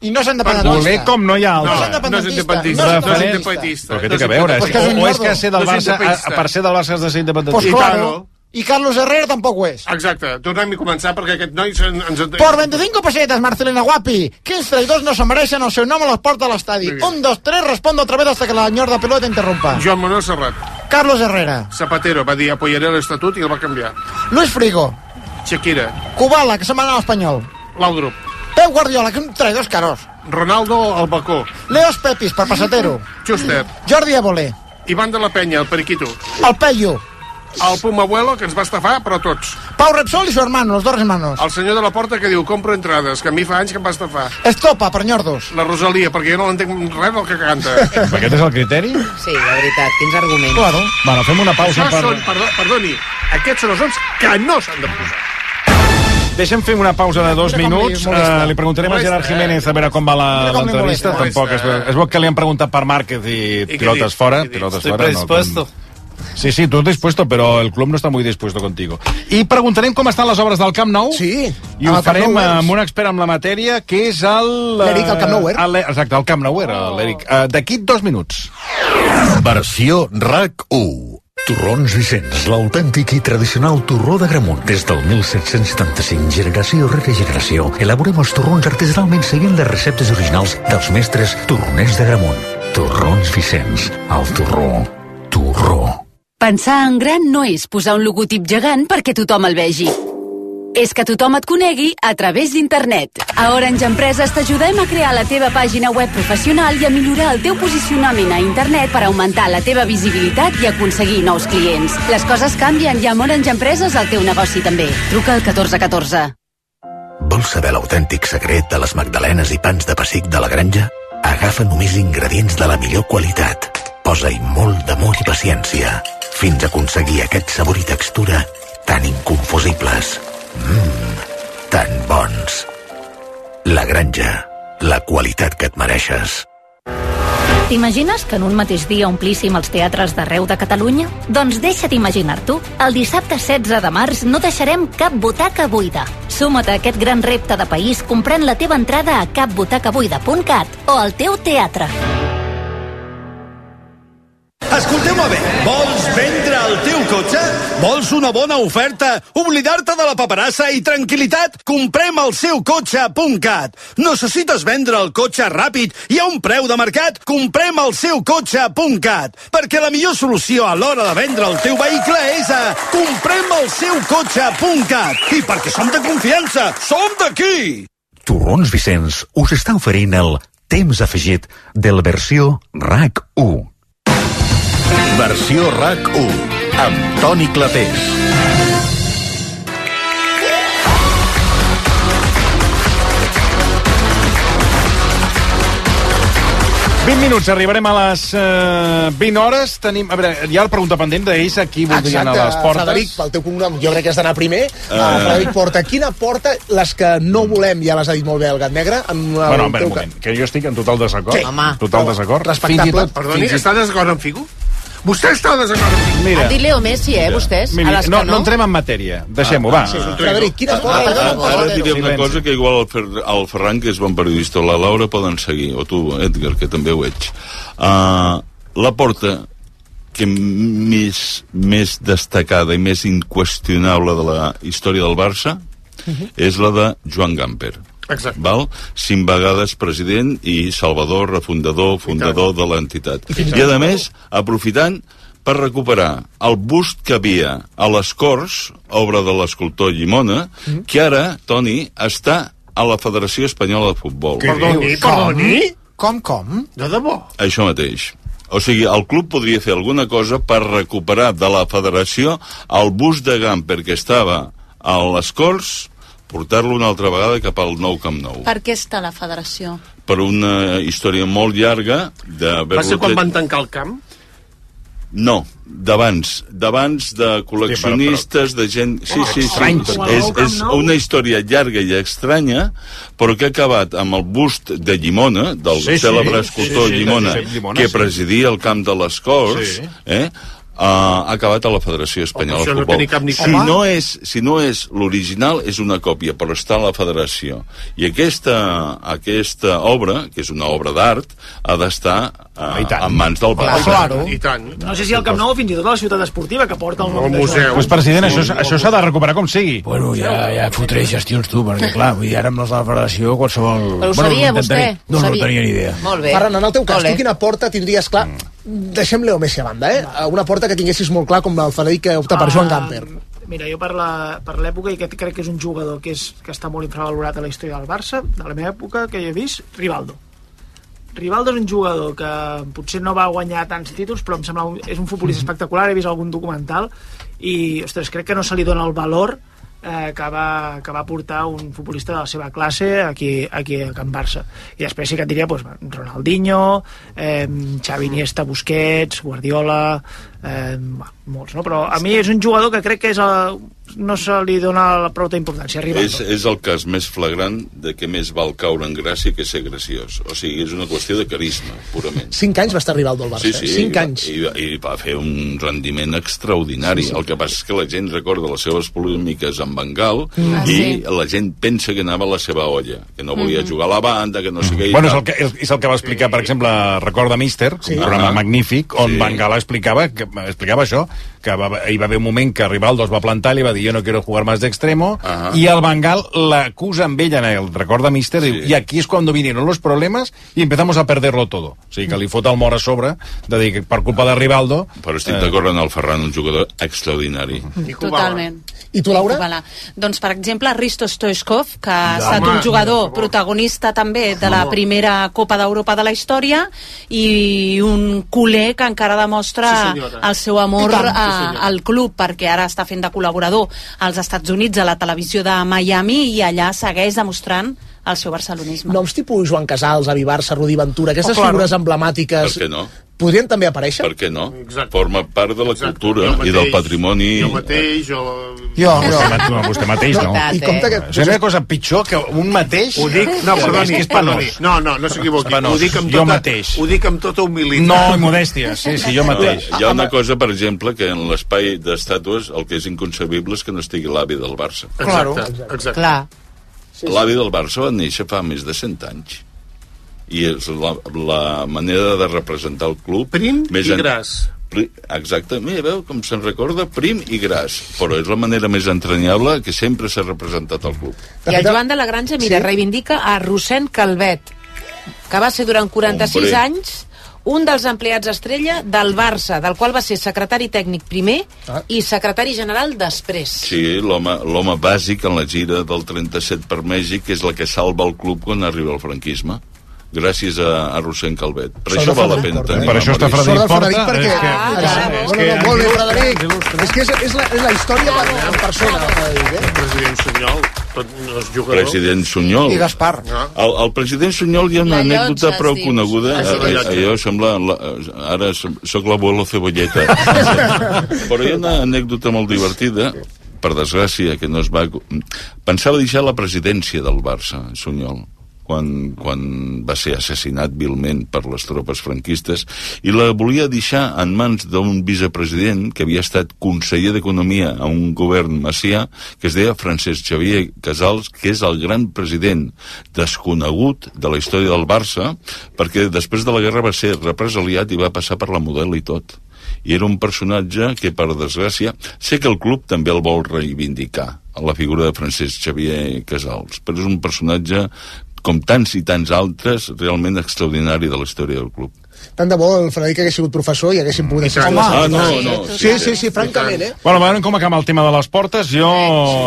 S13: I no s'han de pagar
S2: Culer com no hi ha
S6: No,
S2: altre.
S6: no
S2: No és
S6: és independentista. No és
S2: independentista.
S6: independentista.
S2: Però què té a veure?
S13: Pues que és
S2: o,
S13: un
S2: o és que
S13: gordo.
S2: ser del
S6: No és
S2: Barça, a, a,
S6: independentista.
S2: per ser del Barça has de ser
S13: Pues
S2: independentista.
S13: claro. I Carlos Herrera tampoc ho és.
S6: Exacte, tornem a començar perquè aquest noi se- ens...
S13: Por 25 pesetas, Marcelina Guapi. Quins traïdors no se mereixen el seu nom a les portes de l'estadi?
S6: Muy bien.
S13: Un, dos, tres, respondo otra vez hasta que la nyorda pelota interrompa.
S6: Joan Manuel Serrat.
S13: Carlos Herrera.
S6: Zapatero va dir apoyaré l'estatut i el va canviar.
S13: Luis Frigo.
S6: Shakira,
S13: Kubala, que se'n va anar a l'Espanyol.
S6: Laudrup,
S13: Pep Guardiola, que és un traïdor escarós.
S6: Ronaldo al balcó,
S13: Leos Pepis, per passatero.
S6: Schuster,
S13: Jordi Abolé.
S6: Ivan de la Penya, el periquito,
S13: El Peyu.
S6: el Pum Abuelo, que ens va estafar, però tots.
S13: Pau Repsol i su hermano, los dos hermanos.
S6: El senyor de la porta que diu, compro entrades, que a mi fa anys que em va estafar.
S13: Estopa, per nyordos.
S6: La Rosalia, perquè jo no l'entenc res del que canta.
S2: Aquest és el criteri?
S12: Sí, la veritat, quins arguments.
S13: Claro.
S2: Bueno, fem una pausa
S6: Això
S2: per...
S6: són, perdó, perdoni, aquests són els noms que no s'han de posar.
S2: Deixa'm fer una pausa de dos
S13: Mira com li
S2: minuts.
S13: molesta.
S2: Uh, li preguntarem a
S6: Molesta,
S2: Gerard
S6: eh?
S2: Jiménez a veure com va la-
S13: Mira com li
S2: l'entrevista.
S13: molesta.
S2: Tampoc es, veu- es veu que li han preguntat per Márquez i
S6: què
S2: pilotes
S6: dic?
S2: fora.
S6: Què dic?
S2: Pilotes
S7: Estoy
S2: fora no,
S7: predispuesto.
S2: Sí, sí, tú dispuesto, però el club no està molt dispuesto contigo. I preguntarem com estan les obres del Camp Nou.
S1: Sí.
S2: I ho
S1: Al Camp
S2: farem
S1: Nou West.
S2: amb un expert en la matèria, que és el... eh,
S1: L'Eric, el Camp Oh. Nouer.
S2: el- Exacte, el Camp Nouer, l'Eric. Eh, D'aquí dos minuts.
S14: Versió RAC 1. Torrons Vicenç, l'autèntic i tradicional torró de Gramunt. Des del 1775, generació rere generació, elaborem els torrons artesanalment seguint les receptes originals dels mestres torroners de Gramunt. Torrons Vicenç, el torró, torró.
S15: Pensar en gran no és posar un logotip gegant perquè tothom el vegi. És que tothom et conegui a través d'internet. A Orange Empreses t'ajudem a crear la teva pàgina web professional i a millorar el teu posicionament a internet per augmentar la teva visibilitat i aconseguir nous clients. Les coses canvien i amb Orange Empreses el teu negoci també. Truca al 1414.
S14: Vols saber l'autèntic secret de les magdalenes i pans de pessic de la granja? Agafa només ingredients de la millor qualitat. Posa-hi molt d'amor i paciència fins a aconseguir aquest sabor i textura tan inconfusibles. Mmm, tan bons. La granja, la qualitat que et mereixes.
S16: T'imagines que en un mateix dia omplíssim els teatres d'arreu de Catalunya? Doncs deixa't imaginar-t'ho. El dissabte 16 de març no deixarem cap butaca buida. Suma't a aquest gran repte de país comprant la teva entrada a capbutacabuida.cat o al teu teatre.
S17: Escolteu-me bé, vols vendre el teu cotxe? Vols una bona oferta? Oblidar-te de la paperassa i tranquil·litat? Comprem el seu cotxe.cat. Necessites vendre el cotxe ràpid i a un preu de mercat? Comprem el seu cotxe.cat. Perquè la millor solució a l'hora de vendre el teu vehicle és a comprem el seu cotxe.cat. I perquè som de confiança, som d'aquí!
S14: Torrons Vicenç us està oferint el temps afegit de la versió RAC1.
S18: Versió RAC1 amb Toni Clapés.
S2: Doncs 20 minuts, arribarem a les eh, 20 hores. Tenim, a veure, hi ha la pregunta pendent d'ells, aquí voldrien anar a les portes.
S1: Frederic, pel teu cognom, jo crec que has d'anar primer.
S11: Eh.
S1: Uh...
S2: Ah.
S1: Frederic Porta, quina porta les que no volem, ja les ha dit molt bé el Gat Negre, en
S2: Bueno,
S1: una...
S2: a veure, un moment, que jo estic en total desacord.
S1: Sí. Home.
S2: total desacord.
S1: Respectable.
S2: Fins i tot-
S6: Perdoni,
S2: fins i-
S6: està desacord amb Figo? Vostè està desacord amb Figo?
S2: Mira.
S12: Han dit Leo Messi, eh, vostès?
S2: Mira,
S12: a les
S2: no,
S12: que
S2: no entrem en matèria. Deixem-ho, va.
S6: sí, és un
S1: Frederic, quina
S11: Ah, Ara,
S1: porta...
S11: ara et diré una cosa que igual el, Fer, el Ferran, que és bon periodista, o la Laura poden seguir, o tu, Edgar, que també ho ets. Uh, la porta que més, més destacada i més inqüestionable de la història del Barça és la de Joan Gamper.
S6: Exacte.
S11: Val? Cinc vegades president i salvador, refundador, fundador de l'entitat.
S6: I tant.
S11: I, a més, aprofitant per recuperar el bust que havia a les Corts, obra de l'escultor Llimona,
S6: Mm.
S11: que ara, Toni, està a la Federació Espanyola de Futbol.
S13: Com, com?
S6: De debò.
S11: Això mateix. O sigui, el club podria fer alguna cosa per recuperar de la federació el bus de Gamper que estava a les Corts, portar-lo una altra vegada cap al nou Camp Nou.
S4: Per què està la federació?
S11: Per una història molt llarga de...
S6: Va ser quan van tancar el camp?
S11: No, d'abans. D'abans de col·leccionistes, de gent... Sí, sí, sí.
S6: estranys.
S11: És, és una història llarga i estranya, però que ha acabat amb el bust de Llimona, del
S2: Sí, sí.
S11: cèlebre escultor
S2: Sí, sí, de
S11: Llimona,
S2: Josep Llimona,
S11: que
S2: sí.
S11: presidia el camp de les Corts,
S2: Sí.
S11: eh? ha acabat a la Federació Espanyola
S6: Home, això
S11: de
S6: no
S11: Futbol.
S6: tenia cap ni
S11: si,
S6: coma.
S11: no és, si no és l'original, és una còpia, però està a la Federació. I aquesta, aquesta obra, que és una obra d'art, ha d'estar
S2: Ah,
S11: eh, en mans del Barça.
S6: I tant.
S9: No sé si el Camp Nou o fins i tot a la ciutat esportiva que porta el nom de Joan.
S2: Pues, president, això, això s'ha de recuperar com sigui.
S19: Bueno, ja, ja fotré gestions tu, perquè clar, vull dir, ara amb les de la federació qualsevol...
S1: Però ho
S19: bueno,
S1: sabia,
S19: intentaré. No,
S1: vostè? Ho
S19: no,
S1: sabia.
S19: no tenia ni idea.
S1: Molt bé. Ferran, en el teu cas,
S19: Ole.
S1: tu quina porta tindries clar... Mm. Deixem Leo Messi a banda, eh?
S2: Mm.
S1: Una porta que tinguessis molt clar com el Frederic que opta per
S9: Ah,
S1: Joan Gamper.
S9: Mira, jo per la- per l'època, i que crec que és un jugador que, és, que està molt infravalorat a la història del Barça, de la meva època, que jo he vist, Rivaldo. Rivaldo és un jugador que potser no va guanyar tants títols, però em sembla un, és un futbolista espectacular, he vist algun documental, i, ostres, crec que no se li dona el valor eh, que, va, que va portar un futbolista de la seva classe aquí, aquí a Can Barça. I després sí que et diria doncs, pues, Ronaldinho, eh, Xavi Iniesta, Busquets, Guardiola, eh, va, molts, no? Però a mi és un jugador que crec que és el, no se li dona la prou importància. Arriba.
S11: És, és el cas més flagrant de que més val caure en gràcia que ser graciós. O sigui, és una qüestió de carisma, purament.
S1: Cinc anys va estar Rivaldo al Barça.
S11: Sí, sí,
S1: eh? Cinc
S11: i va-
S1: anys.
S11: I, va- i va fer un rendiment extraordinari.
S1: Sí,
S11: Sí,
S1: sí.
S11: sí. El que passa és que la gent recorda les seves polèmiques amb Bengal
S2: Mm.
S11: mm.
S2: Ah,
S11: i
S2: sí.
S11: la gent pensa que anava a la seva olla, que no volia
S2: Mhm.
S1: Mm.
S11: jugar a la banda, que no sé què... i
S2: Bueno, és
S11: tal.
S2: el, que, és, és el que va explicar, per exemple, Recorda Mister, sí. un programa
S11: Ah.
S2: magnífic, on
S11: Sí.
S2: sí. Van Gala explicava, que, explicava això, que va, hi va haver un moment que Rivaldo es va plantar i li va dir jo no quiero jugar más de extremo,
S11: Ah.
S2: i el Van Gaal l'acusa amb ell en el Recorda Mister, sí. i aquí és quan vinieron los problemas y empezamos a perderlo todo. O sigui, que li fot el mor a sobre, de dir que per culpa de Rivaldo...
S11: Però estic d'acord amb el Ferran, un jugador extraordinari.
S2: Mm-hmm.
S4: Mm. Totalment.
S1: I tu, Laura?
S4: Kubala. Doncs, per exemple, Risto Stoichkov, que ha
S1: Ja,
S4: estat
S1: home,
S4: un jugador protagonista també de la primera Copa d'Europa de la història i un culer que encara demostra
S12: Sí, senyora.
S4: el seu amor
S12: I tant, sí,
S4: a,
S12: senyora.
S4: al club, perquè ara està fent de col·laborador als Estats Units, a la televisió de Miami, i allà segueix demostrant el seu barcelonisme.
S1: Noms tipus Joan Casals, Avi Barça, Rudi Ventura, aquestes
S4: Oh, claro.
S1: figures emblemàtiques...
S11: Per què no?
S1: podrien també aparèixer?
S11: Per què no? Exacte. Forma part de la cultura mateix, i del patrimoni...
S6: Jo mateix, o...
S11: Jo, jo.
S2: Vostè, vostè mateix, no?
S11: Veritat,
S2: I compte
S1: eh?
S2: que... És una cosa pitjor que un mateix...
S6: Ho dic, no,
S2: És
S6: perdoni,
S2: que és
S6: perdoni.
S2: penós.
S6: No, no, no s'equivoqui.
S2: Penós.
S6: Ho dic amb
S2: Jo
S6: tota,
S2: mateix.
S6: Ho dic amb tota humilitat.
S2: No, i modèstia, sí, sí, jo mateix.
S11: Hi ha una cosa, per exemple, que en l'espai d'estàtues el que és inconcebible és que no estigui l'avi del Barça.
S6: Claro. Exacte, exacte.
S13: Clar.
S11: L'avi del Barça va néixer fa més de 100 anys. I és la, la manera de representar el club... Prim més
S6: i gras.
S11: Pri- Exacte, mira, veu com se'n recorda, prim i gras, però és la manera més entranyable que sempre s'ha representat el club.
S12: I el Joan de la Granja, mira, sí? reivindica a Rossent Calvet, que va ser durant 46
S11: Hombre.
S12: anys un dels empleats estrella del Barça, del qual va ser secretari tècnic primer ah. i secretari general després.
S11: Sí, l'home l'home bàsic en la gira del 37 per Mèxic és la que salva el club quan arriba el franquisme gràcies a, a Rossent Calvet. Per
S2: Sort
S11: això
S2: de
S11: val la
S2: Frederic
S11: pena
S2: Porta,
S11: tenir
S2: eh? Per això està
S11: memòria.
S2: Frederic eh,
S1: Sort del Frederic perquè... Ah,
S11: és que- és
S1: Bueno,
S11: que-
S1: no, molt bé, Frederic. És que és, és, la, és la història per, en persona. Frederic, eh?
S6: President Sunyol, tot no és jugador.
S11: President Sunyol. I Gaspar.
S6: No?
S11: El, el president Sunyol hi ha una
S6: La llotja,
S11: anècdota prou
S6: es diu.
S11: coneguda. Eh,
S6: Ah, sí, la llotja.
S11: Allò sembla... La, ara som- sóc l'abuelo Cebolleta. Però hi ha una anècdota molt divertida per desgràcia, que no es va... Pensava deixar la presidència del Barça, Sunyol, quan, quan va ser assassinat vilment per les tropes franquistes, i la volia deixar en mans d'un vicepresident que havia estat conseller d'Economia a un govern macià, que es deia Francesc Xavier Casals, que és el gran president desconegut de la història del Barça, perquè després de la guerra va ser represaliat i va passar per la model i tot i era un personatge que, per desgràcia, sé que el club també el vol reivindicar, a la figura de Francesc Xavier Casals, però és un personatge, com tants i tants altres, realment extraordinari de la història del club.
S1: Tant de bo el Frederic hagués sigut professor i haguéssim pogut...
S2: tant.
S1: assistir a la
S2: Ah, no,
S1: seva-
S2: no,
S1: Sí, sí, sí, francament, eh?
S2: Bueno, veurem com acaba el tema de les portes. Jo,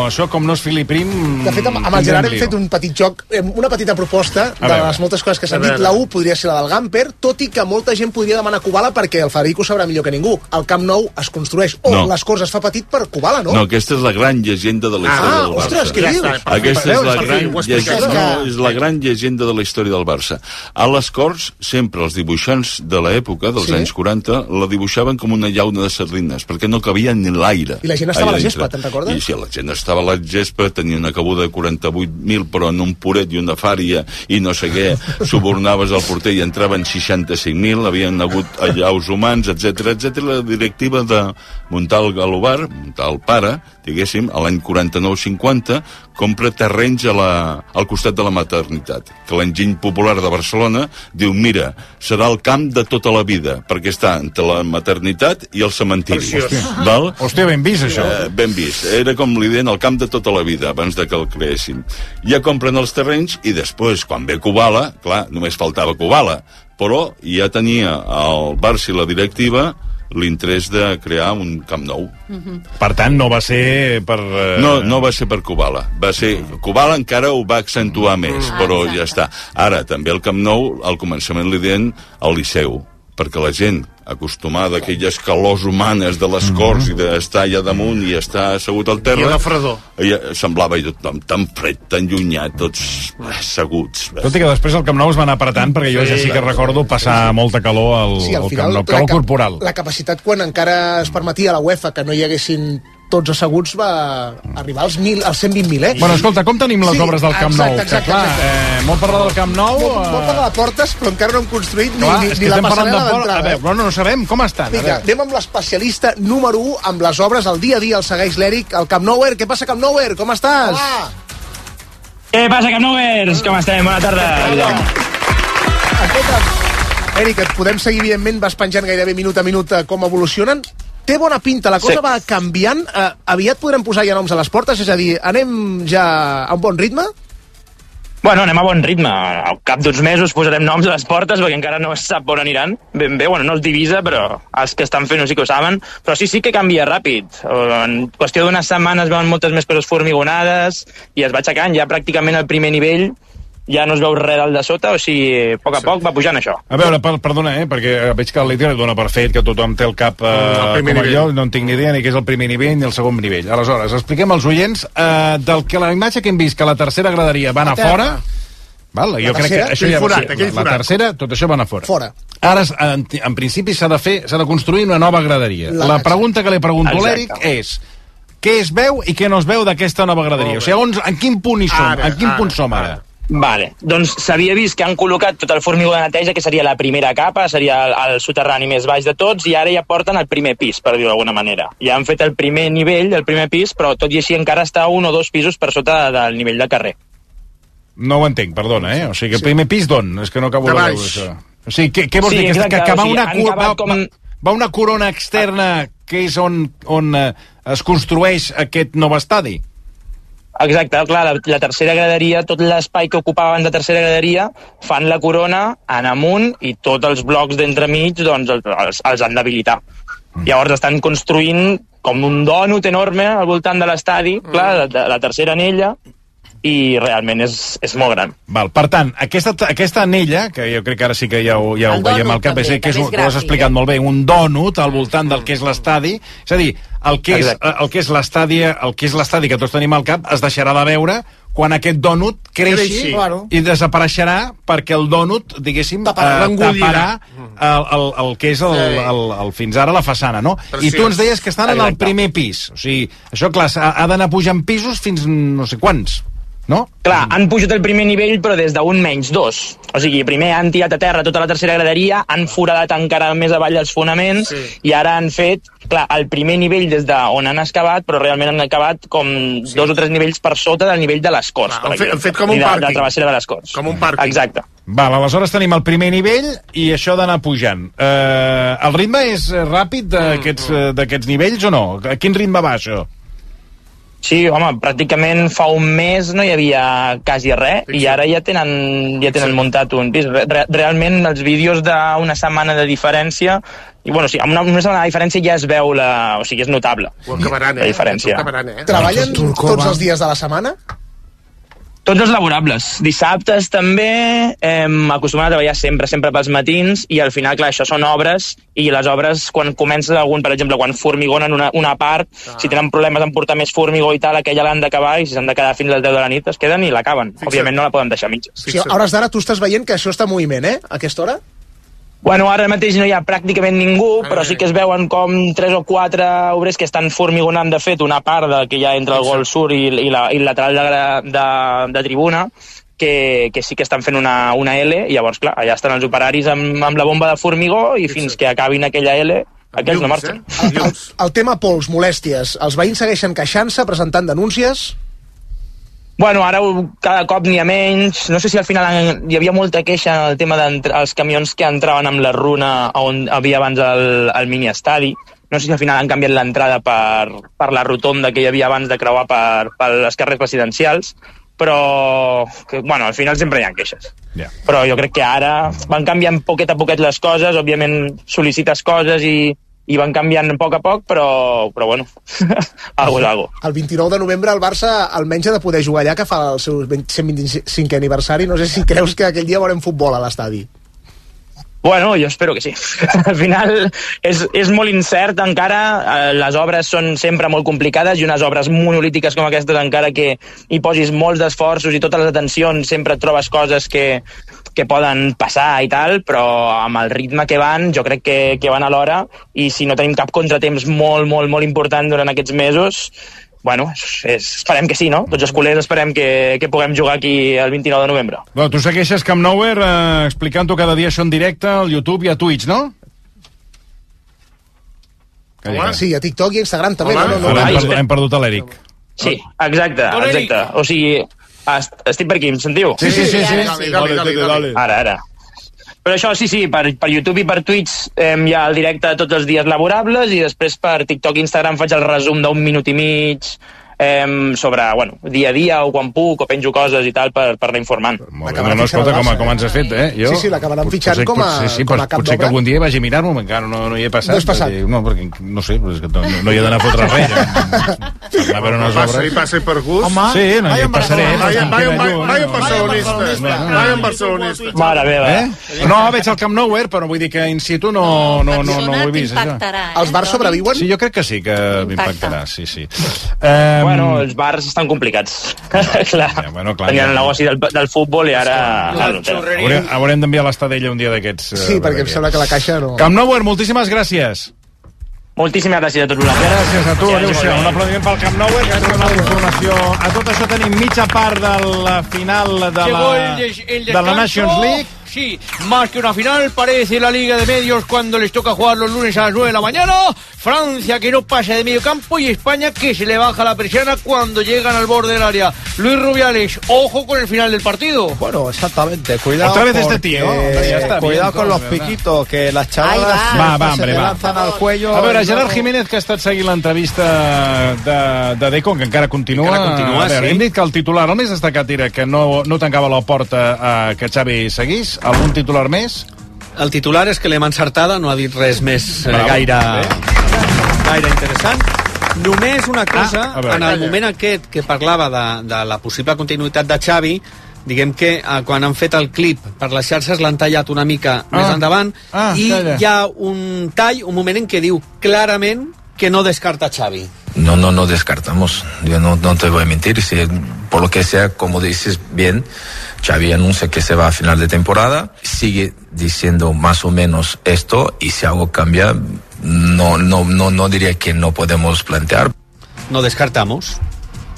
S2: això, com no es fili prim...
S1: De fet, amb, amb el
S2: tindrem
S1: Gerard hem
S2: lío.
S1: fet un petit joc, eh, una petita proposta de
S2: veure.
S1: les moltes coses que s'han
S2: A
S1: dit.
S2: veure.
S1: La 1 podria ser la del Gamper, tot i que molta gent podria demanar Kubala perquè el Federico sabrà millor que ningú. El Camp Nou es construeix o
S11: No.
S1: les coses fa petit per Kubala, no?
S11: No, aquesta és la gran llegenda de la
S1: Ah,
S11: història del Barça.
S1: ostres, què dius?
S11: Aquesta és la,
S1: Veus,
S11: gran
S1: ho has
S11: llegenda,
S1: explicat.
S11: no, és la gran llegenda de la història del Barça. A les Corts, sempre els dibuixants de l'època, dels
S1: Sí.
S11: anys 40, la dibuixaven com una llauna de sardines, perquè no cabia ni l'aire.
S1: I la gent estava
S11: allà
S1: a la gespa,
S11: dintre.
S1: te'n recordes?
S11: I si la gent estava a la gespa, tenia una cabuda de 48.000, però en un puret i una fària i no sé què, subornaves el porter i entraven 65.000, havien hagut allaus humans, etc etc. La directiva de Montal Galobar, Montal Pare, diguéssim, a l'any 49-50, compra terrenys a la, al costat de la maternitat, que l'enginy popular de Barcelona diu, mira, serà el camp de tota la vida, perquè està entre la maternitat i el cementiri.
S2: Preciós.
S11: Val?
S2: Hòstia, ben vist, això.
S11: Eh, ben vist. Era com li deien el camp de tota la vida, abans de que el creessin. Ja compren els terrenys i després, quan ve Kubala, clar, només faltava Kubala, però ja tenia el Barça i la directiva l'interès de crear un camp nou.
S6: Mhm.
S2: Per tant, no va ser per... Eh...
S11: No, no va ser per Kubala. Va ser... Kubala encara ho
S6: Mm.
S11: va accentuar més,
S6: Ah,
S11: però ja està. Ara, també el Camp Nou, al començament li deien el Liceu, perquè la gent acostumada a aquelles calors humanes de les corts
S2: Mhm.
S11: i d'estar allà damunt i estar assegut al terra...
S6: I la fredor.
S11: I semblava jo tan, tan fred, tan llunyà, tots asseguts.
S2: Tot i que després el Camp Nou es va anar apretant, perquè jo
S11: Sí,
S2: ja sí que
S11: clar.
S2: recordo passar molta calor al,
S1: Sí, al
S2: al
S1: final...
S2: Camp Nou.
S1: la
S2: Calor
S1: ca-
S2: corporal.
S1: La capacitat, quan encara es permetia a la UEFA que no hi haguessin tots asseguts, va arribar als, mil, als 120.000, eh?
S2: Bueno, escolta, com tenim les
S1: Sí,
S2: obres del Camp
S1: exacte,
S2: Nou? Que,
S1: exacte,
S2: clar,
S1: exacte.
S2: Eh, molt parlar del Camp Nou... eh,
S1: Molt, molt parlar de portes, però encara no hem construït ni,
S2: Clar,
S1: ni,
S2: és que
S1: ni la
S2: estem parlant de
S1: passarel·la
S2: portes. A
S1: d'entrada. eh?
S2: veure, no, no sabem com estan.
S1: Vinga, anem amb l'especialista número 1 amb les obres al dia a dia, el segueix l'Eric, al Camp Nouer. Què passa, Camp Nouer? Com estàs? Hola!
S20: Què passa, Camnovers? Com estem? Bona tarda.
S1: Escolta'm, Eric, et podem seguir, evidentment, vas penjant gairebé minut a minut eh, com evolucionen. Té bona pinta, la cosa
S20: Sí.
S1: sí. va canviant. Eh, aviat podrem posar ja noms a les portes, és a dir, anem ja a un bon ritme?
S20: Bueno, anem a bon ritme. Al cap d'uns mesos posarem noms a les portes perquè encara no es sap on aniran. Ben bé, bueno, no els divisa, però els que estan fent-ho sí que ho saben. Però sí, sí que canvia ràpid. En qüestió d'unes setmanes veuen moltes més coses formigonades i es va aixecant ja pràcticament al primer nivell ja no es veu res del de sota, o sigui, a poc a poc va pujant això.
S2: A veure, per, perdona, eh, perquè veig que l'Ítria dona per fet que tothom té el cap eh,
S20: El
S2: com
S20: primer
S2: a
S20: nivell.
S2: jo, no en tinc ni idea ni què és el primer nivell ni el segon nivell. Aleshores, expliquem als oients eh, del que la imatge que hem vist que la tercera graderia va anar
S1: La terra.
S2: fora... Val,
S1: La
S2: jo crec
S1: tercera,
S2: que això
S1: aquell
S2: ja va
S1: forat,
S2: ser,
S1: aquell
S2: la
S1: forat.
S2: tercera, tot això va anar fora.
S1: Fora.
S2: Ara, es- en, en principi, s'ha de fer, s'ha de construir una nova graderia.
S5: La
S2: La,
S5: vaig-
S2: pregunta que li pregunto a l'Eric
S5: Exacte.
S2: és què es veu i què no es veu d'aquesta nova graderia? O sigui, on, en quin punt hi som?
S20: Ara,
S2: en quin
S20: ara,
S2: punt som ara?
S20: Vale, doncs s'havia vist que han col·locat tot el formigó de neteja, que seria la primera capa, seria el, el soterrani més baix de tots, i ara ja porten el primer pis, per dir-ho d'alguna manera. Ja han fet el primer nivell, el primer pis, però tot i així encara està un o dos pisos per sota del nivell de carrer.
S2: No ho entenc, perdona, eh? O sigui, que el primer pis d'on? És que no acabo
S20: De
S2: de,
S20: baix.
S2: veure això. O sigui, què, què vols
S20: Sí,
S2: dir? Que,
S20: exacte,
S2: que, que va,
S20: o sigui,
S2: una
S20: han
S2: cor, va,
S20: acabat com-
S2: va, va una corona externa que és on, on eh, es construeix aquest nou estadi?
S20: Exacte, clar, la, la tercera graderia, tot l'espai que ocupaven de tercera graderia, fan la corona en amunt i tots els blocs d'entremig doncs, els, els, els han d'habilitar.
S2: Mm.
S20: Llavors estan construint com un dònut enorme al voltant de l'estadi, clar, la, la- la tercera anella, i realment és, és molt gran.
S2: Val, per tant, aquesta, aquesta anella, que jo crec que ara sí que ja ho, ja ho
S20: El
S2: veiem
S20: dònut,
S2: al cap, és,
S20: també,
S2: que és,
S20: també
S2: un-
S20: és
S2: que ho has
S20: gràfic,
S2: explicat
S20: eh?
S2: molt bé, un dònut al voltant del que és l'estadi, és a dir, el que és,
S20: Exacte.
S2: el que és l'estadi el que és l'estadi que tots tenim al cap es deixarà de veure quan aquest dònut creixi,
S10: Creixi, claro.
S2: i desapareixerà perquè el dònut, diguéssim,
S10: Taparà,
S2: eh,
S10: l'engolirà.
S2: taparà el, el, el que és el,
S10: Sí.
S2: el, el, fins ara la façana, no? I
S10: Preciós.
S2: tu ens deies que estan en el
S10: Exacte.
S2: primer pis. O sigui, això, clar, s'ha- ha d'anar pujant pisos fins no sé quants, no?
S20: Clar, han pujat el primer nivell però des d'un menys dos. O sigui, primer han tirat a terra tota la tercera graderia, han foradat encara més avall els fonaments sí. i ara han fet, clar, el primer nivell des d'on han excavat, però realment han acabat com sí. dos o tres nivells per sota del nivell de les Corts.
S2: han
S20: per
S2: fet-
S20: exemple.
S2: han fet com un
S20: I de, De
S2: pàrquing.
S20: la travessera de les Corts. Com un pàrquing. Exacte.
S2: Val, aleshores tenim el primer nivell i això d'anar pujant. Eh, el ritme és eh, ràpid d'aquests eh, d'aquests nivells o no? A quin ritme va això?
S20: Sí, home, pràcticament fa un mes no hi havia quasi res i ara ja tenen, ja tenen muntat un pis. Re realment els vídeos d'una setmana de diferència i bueno, sí, amb una, una setmana de diferència ja es veu la... o sigui, és notable. Ho acabaran, eh? La diferència.
S6: eh?
S1: Treballen tots els dies de la setmana?
S20: Tots els laborables. Dissabtes també hem acostumat a treballar sempre, sempre pels matins i al final, clar, això són obres i les obres, quan comença algun, per exemple, quan formigonen una, una part, si tenen problemes en portar més formigó i tal, aquella l'han d'acabar i si s'han de quedar fins a les 10 de la nit es queden i l'acaben. Òbviament no la poden deixar a mitges.
S1: O sigui, a hores d'ara tu estàs veient que això està en moviment, eh? A aquesta hora?
S20: Bueno, ara mateix no hi ha pràcticament ningú, però sí que es veuen com tres o quatre obrers que estan formigonant, de fet, una part de, que hi ha entre el gol sur i, i, la, i el lateral de, gra- de, de tribuna, que, que sí que estan fent una, una L, i llavors, clar, allà estan els operaris amb, amb la bomba de formigó i fins que acabin aquella L, aquells no marxen.
S1: El, el, el tema pols, molèsties. Els veïns segueixen queixant-se, presentant denúncies.
S20: Bueno, ara ho- cada cop n'hi ha menys. No sé si al final en- hi havia molta queixa en el tema dels camions que entraven amb la runa a on havia abans el, el miniestadi. No sé si al final han canviat l'entrada per, per la rotonda que hi havia abans de creuar per, per les carrers residencials, però que, bueno, al final sempre hi ha queixes.
S2: Ja.
S20: Però jo crec que ara van canviant poquet a poquet les coses, òbviament sol·licites coses i, i van canviant a poc a poc, però, però bueno, algo és algo.
S1: El 29 de novembre el Barça almenys ha de poder jugar allà, que fa el seu 20 125è aniversari. No sé si creus que aquell dia veurem futbol a l'estadi.
S20: Bueno, jo espero que sí. Al final és, és molt incert encara, eh, les obres són sempre molt complicades i unes obres monolítiques com aquestes encara que hi posis molts d'esforços i totes les atencions sempre trobes coses que, que poden passar i tal, però amb el ritme que van jo crec que, que van a l'hora i si no tenim cap contratemps molt, molt, molt important durant aquests mesos, bueno, és, és- esperem que sí, no? Tots els culers esperem que, que puguem jugar aquí el 29 de novembre.
S2: Bueno, tu segueixes Camp Nouer eh, explicant-ho cada dia això en directe al YouTube i a Twitch, no? Calla,
S1: Sí, a TikTok i a Instagram també. No, no,
S2: Hem,
S1: no.
S2: perdut, hem perdut a l'Eric.
S20: Sí, exacte, exacte. O sigui, est estic per aquí, em sentiu?
S2: Sí, sí, sí, sí. Dale, dale, dale, dale.
S20: Ara, ara. Però això, sí, sí, per, per YouTube i per Twitch eh, hi ha el directe tots els dies laborables i després per TikTok i Instagram faig el resum d'un minut i mig eh, sobre, bueno, dia a dia o quan puc o penjo coses i tal per, per anar informant.
S2: No, no, escolta, com, com ens has fet, eh? Jo,
S20: Sí, sí, l'acabaran
S2: pot-
S20: fitxant
S2: potser-
S20: com a-
S2: potser sí,
S20: com a
S2: pot-
S20: cap
S2: Potser que
S20: d'obra.
S2: algun dia vagi a mirar-m'ho, encara no, no hi he passat.
S20: No has passat.
S2: perquè- No, perquè, no sé, però és que no, no hi he d'anar a fotre res. ja. va haver unes
S6: Passi-
S2: obres...
S6: passi per gust.
S2: Home, sí, no, hi
S6: Vaya
S2: passaré.
S6: Barcelona. Vaya- vaya-
S2: tranquil,
S6: vaya-
S2: no,
S6: vaya
S2: no,
S6: barcelonista.
S2: no, no.
S6: Vaya barcelonista.
S2: Mare meva. Eh? No, veig el Camp Nou, eh, però vull dir que in situ no, no, no, no ho he vist. Això.
S4: T'impactarà, eh?
S1: Els bars sobreviuen?
S2: Sí, jo crec que sí, que m'impactarà, sí, sí. Um...
S20: Bueno, els bars estan complicats. clar. Ja,
S2: bueno, clar,
S20: Tenien
S2: ja.
S20: el negoci del, del futbol i ara...
S2: Clar,
S20: a l'hotel.
S2: Haurem, haurem d'enviar l'estadella un dia d'aquests. eh,
S1: Sí,
S2: a veure
S1: perquè em
S2: què.
S1: sembla que la caixa no...
S2: Camp Nou, moltíssimes gràcies.
S20: Moltíssimes gràcies a tots vosaltres.
S2: Gràcies a tu,
S20: Que vagi molt
S2: adéu-siau.
S20: bé.
S2: Un aplaudiment pel Camp Nou, eh, que ens dona la informació. A tot això tenim mitja part de la final de la,
S5: Llegó el des- el
S2: de la
S5: descanso.
S2: Nations League.
S5: Sí, más que una final parece la Liga de Medios cuando les toca jugar los lunes a las 9 de la mañana. Francia que no pasa de medio campo y España que se le baja la persiana cuando llegan al borde del área. Luis Rubiales, ojo con el final del partido.
S3: Bueno, exactamente, cuidado.
S5: Otra vez este
S3: porque-
S5: tío, hombre, ya está
S3: cuidado
S5: bien,
S3: con los
S5: de verdad.
S3: piquitos, que las chavalas
S2: Ahí va. Va, va, hombre,
S3: se te
S2: va.
S3: lanzan al cuello.
S2: A veure,
S3: y
S2: Gerard
S3: luego-
S2: Jiménez, que ha estat seguint l'entrevista de, de Deco, que encara continua.
S7: Encara continua,
S2: a veure,
S7: sí.
S2: Hem dit que el titular, el més destacat era que no, no tancava la porta a que Xavi seguís. Algun titular més?
S7: El titular és que l'hem encertada, no ha dit res més eh,
S2: Bravo.
S7: gaire,
S2: gaire
S7: interessant. Només una cosa,
S2: Ah, a veure,
S7: en
S2: calla.
S7: el moment aquest que parlava de, de la possible continuïtat de Xavi, diguem que eh, quan han fet el clip per les xarxes l'han tallat una mica ah, més endavant
S2: ah,
S7: i
S2: calla.
S7: hi ha un tall, un moment en què diu clarament que no descarta Xavi.
S8: No, no, no descartamos. Yo no, no te voy a mentir. Si, por lo que sea, como dices bien, Xavi anuncia que se va a final de temporada. Sigue diciendo más o menos esto y si algo cambia, no, no, no, no diría que no podemos plantear.
S7: No descartamos.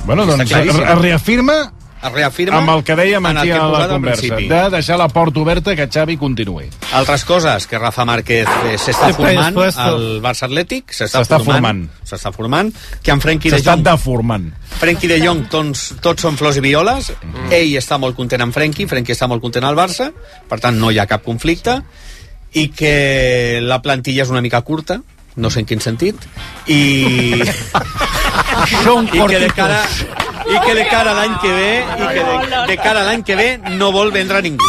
S2: Bueno,
S7: Està
S2: doncs
S7: claríssim.
S2: es reafirma
S7: Es reafirma
S2: amb el que dèiem
S7: en el
S2: aquí
S7: que
S2: a la
S7: posava al
S2: conversa,
S7: principi.
S2: de deixar la porta oberta que Xavi continuï.
S7: Altres coses, que Rafa Márquez eh, s'està
S2: Després,
S7: formant
S2: després.
S7: al Barça Atlètic, s'està
S2: S'està
S7: formant,
S2: formant.
S7: s'està formant, que en Frenkie de
S2: S'està
S7: Jong
S2: deformant.
S7: Frenkie de Jong, tots, tots són flors i violes. Ell està molt content amb Frenkie, Frenkie està molt content al Barça, per tant no hi ha cap conflicte, i que la plantilla és una mica curta, no sé en quin sentit, i...
S5: Són
S7: I que de
S5: cortitos.
S7: cara, i que de cara a l'any que ve i que de, de cara a l'any que ve no vol vendre ningú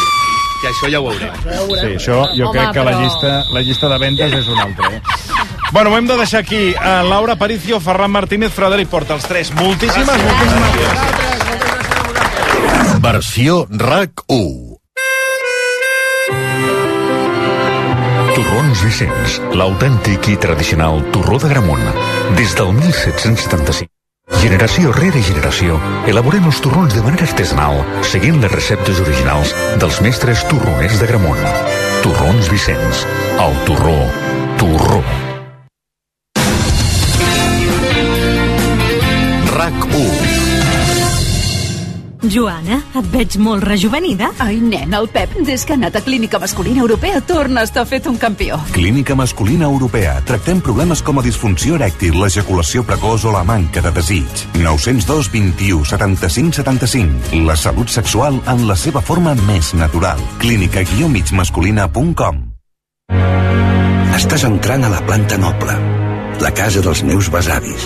S7: que això ja ho veurem
S2: Sí, això jo
S7: Home,
S2: crec que la
S7: però-
S2: llista, la llista de ventes és una altra. Eh? Bueno, ho hem de deixar aquí. Uh, Laura Paricio, Ferran Martínez, Frederic Porta, els tres. Moltíssimes, moltíssimes gràcies.
S18: Versió RAC1.
S14: Torrons Vicenç, l'autèntic i tradicional torró de Gramunt. Des del 1775. Generació rere generació, elaborem els torrons de manera artesanal, seguint les receptes originals dels mestres torroners de Gramunt. Torrons Vicenç, el torró, torró.
S18: RAC1.
S21: Joana, et veig molt rejuvenida.
S15: Ai, nen, el Pep, des que ha anat a Clínica Masculina Europea, torna a estar fet un campió.
S22: Clínica Masculina Europea. Tractem problemes com a disfunció erèctil, l'ejaculació precoç o la manca de desig. 902 21 75 75. La salut sexual en la seva forma més natural. Clínica-migmasculina.com
S23: Estàs entrant a la planta noble, la casa dels meus besavis,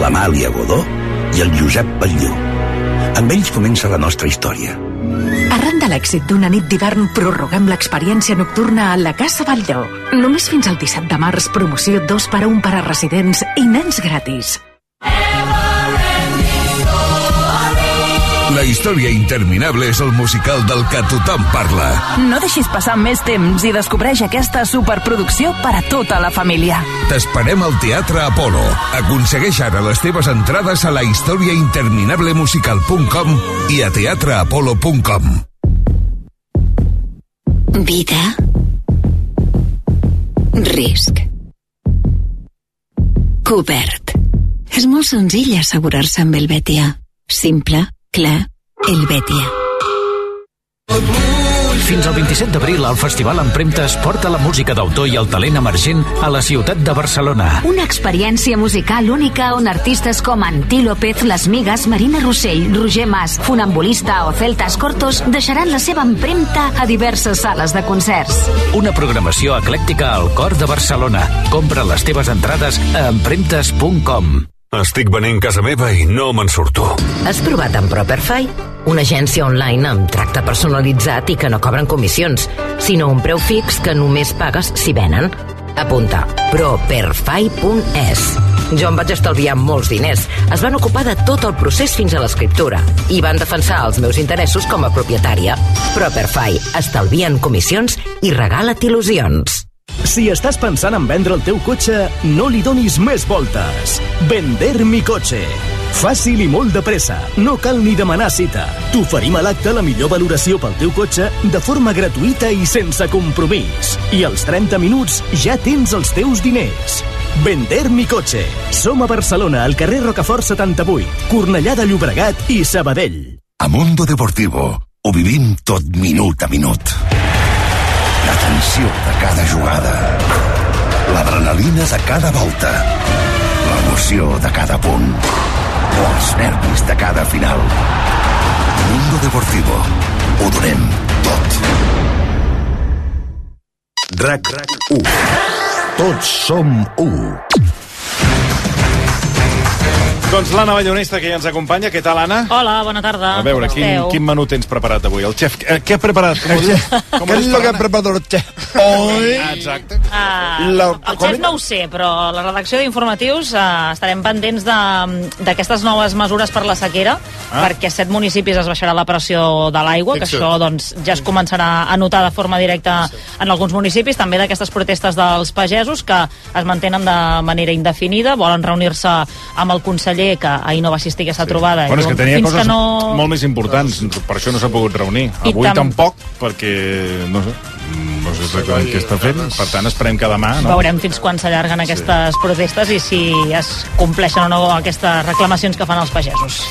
S23: l'Amàlia Godó i el Josep Batlló. Amb ells comença la nostra història.
S24: Arran de l'èxit d'una nit d'hivern prorroguem l'experiència nocturna a la Casa Batlló. Només fins al 17 de març, promoció 2 per a 1 per a residents i nens gratis.
S25: La història interminable és el musical del que tothom parla.
S26: No deixis passar més temps i descobreix aquesta superproducció per a tota la família.
S25: T'esperem al Teatre Apolo. Aconsegueix ara les teves entrades a la historiainterminablemusical.com i a teatreapolo.com.
S27: Vida. Risc. Cobert. És molt senzill assegurar-se amb el Betia. Simple, clar, el Betia.
S28: Fins al 27 d'abril, el Festival Empremta es porta la música d'autor i el talent emergent a la ciutat de Barcelona.
S26: Una experiència musical única on artistes com Antí López, Les Migues, Marina Rossell, Roger Mas, Funambulista o Celtas Cortos deixaran la seva empremta a diverses sales de concerts.
S28: Una programació eclèctica al cor de Barcelona. Compra les teves entrades a empremtes.com.
S25: Estic venent casa meva i no me'n surto.
S29: Has provat amb Properfy? Una agència online amb tracte personalitzat i que no cobren comissions, sinó un preu fix que només pagues si venen. Apunta properfy.es Jo em vaig estalviar molts diners. Es van ocupar de tot el procés fins a l'escriptura i van defensar els meus interessos com a propietària. Properfy, estalvien comissions i regala't il·lusions.
S28: Si estàs pensant en vendre el teu cotxe, no li donis més voltes. Vender mi cotxe. Fàcil i molt de pressa. No cal ni demanar cita. T'oferim a l'acte la millor valoració pel teu cotxe de forma gratuïta i sense compromís. I als 30 minuts ja tens els teus diners. Vender mi cotxe. Som a Barcelona, al carrer Rocafort 78, Cornellà de Llobregat i Sabadell.
S14: A Mundo Deportivo ho vivim tot minut a minut. La tensió de cada jugada. L'adrenalina de cada volta. L'emoció de cada punt. O els nervis de cada final. Mundo Deportivo. Ho donem tot. RAC 1. Tots som 1.
S2: Doncs l'Anna Ballonesta, que ja ens acompanya. Què tal, Anna?
S30: Hola, bona tarda.
S2: A veure,
S30: Com
S2: quin,
S30: Ah, esteu?
S2: quin menú tens preparat avui? El xef, eh, què ha preparat? Com ho dius? Com
S31: ¿Qué
S2: ho
S31: es
S2: dius,
S31: lo que ha
S2: Anna?
S31: preparado el chef hoy?
S2: Exacte.
S30: Ah,
S31: La-
S30: el xef no ho sé, però la redacció d'informatius eh, estarem pendents de- d'aquestes noves mesures per la sequera,
S32: Ah.
S30: perquè a set municipis es baixarà la pressió de l'aigua, que
S32: Fixa't.
S30: això doncs, ja es començarà a notar de forma directa en alguns municipis, també d'aquestes protestes dels pagesos que es mantenen de manera indefinida, volen reunir-se amb el conseller, que ahir no va assistir a aquesta trobada. i
S2: Bueno, és que
S30: diuen,
S2: tenia
S30: "Fins
S2: coses
S30: que no...
S2: molt més importants, per això no s'ha pogut reunir.
S30: I
S2: Avui
S30: tam-
S2: tampoc, perquè no sé, no sé exactament què està fent, per tant esperem que demà... No?
S30: Veurem fins quan s'allarguen aquestes protestes i si es compleixen o no aquestes reclamacions que fan els pagesos.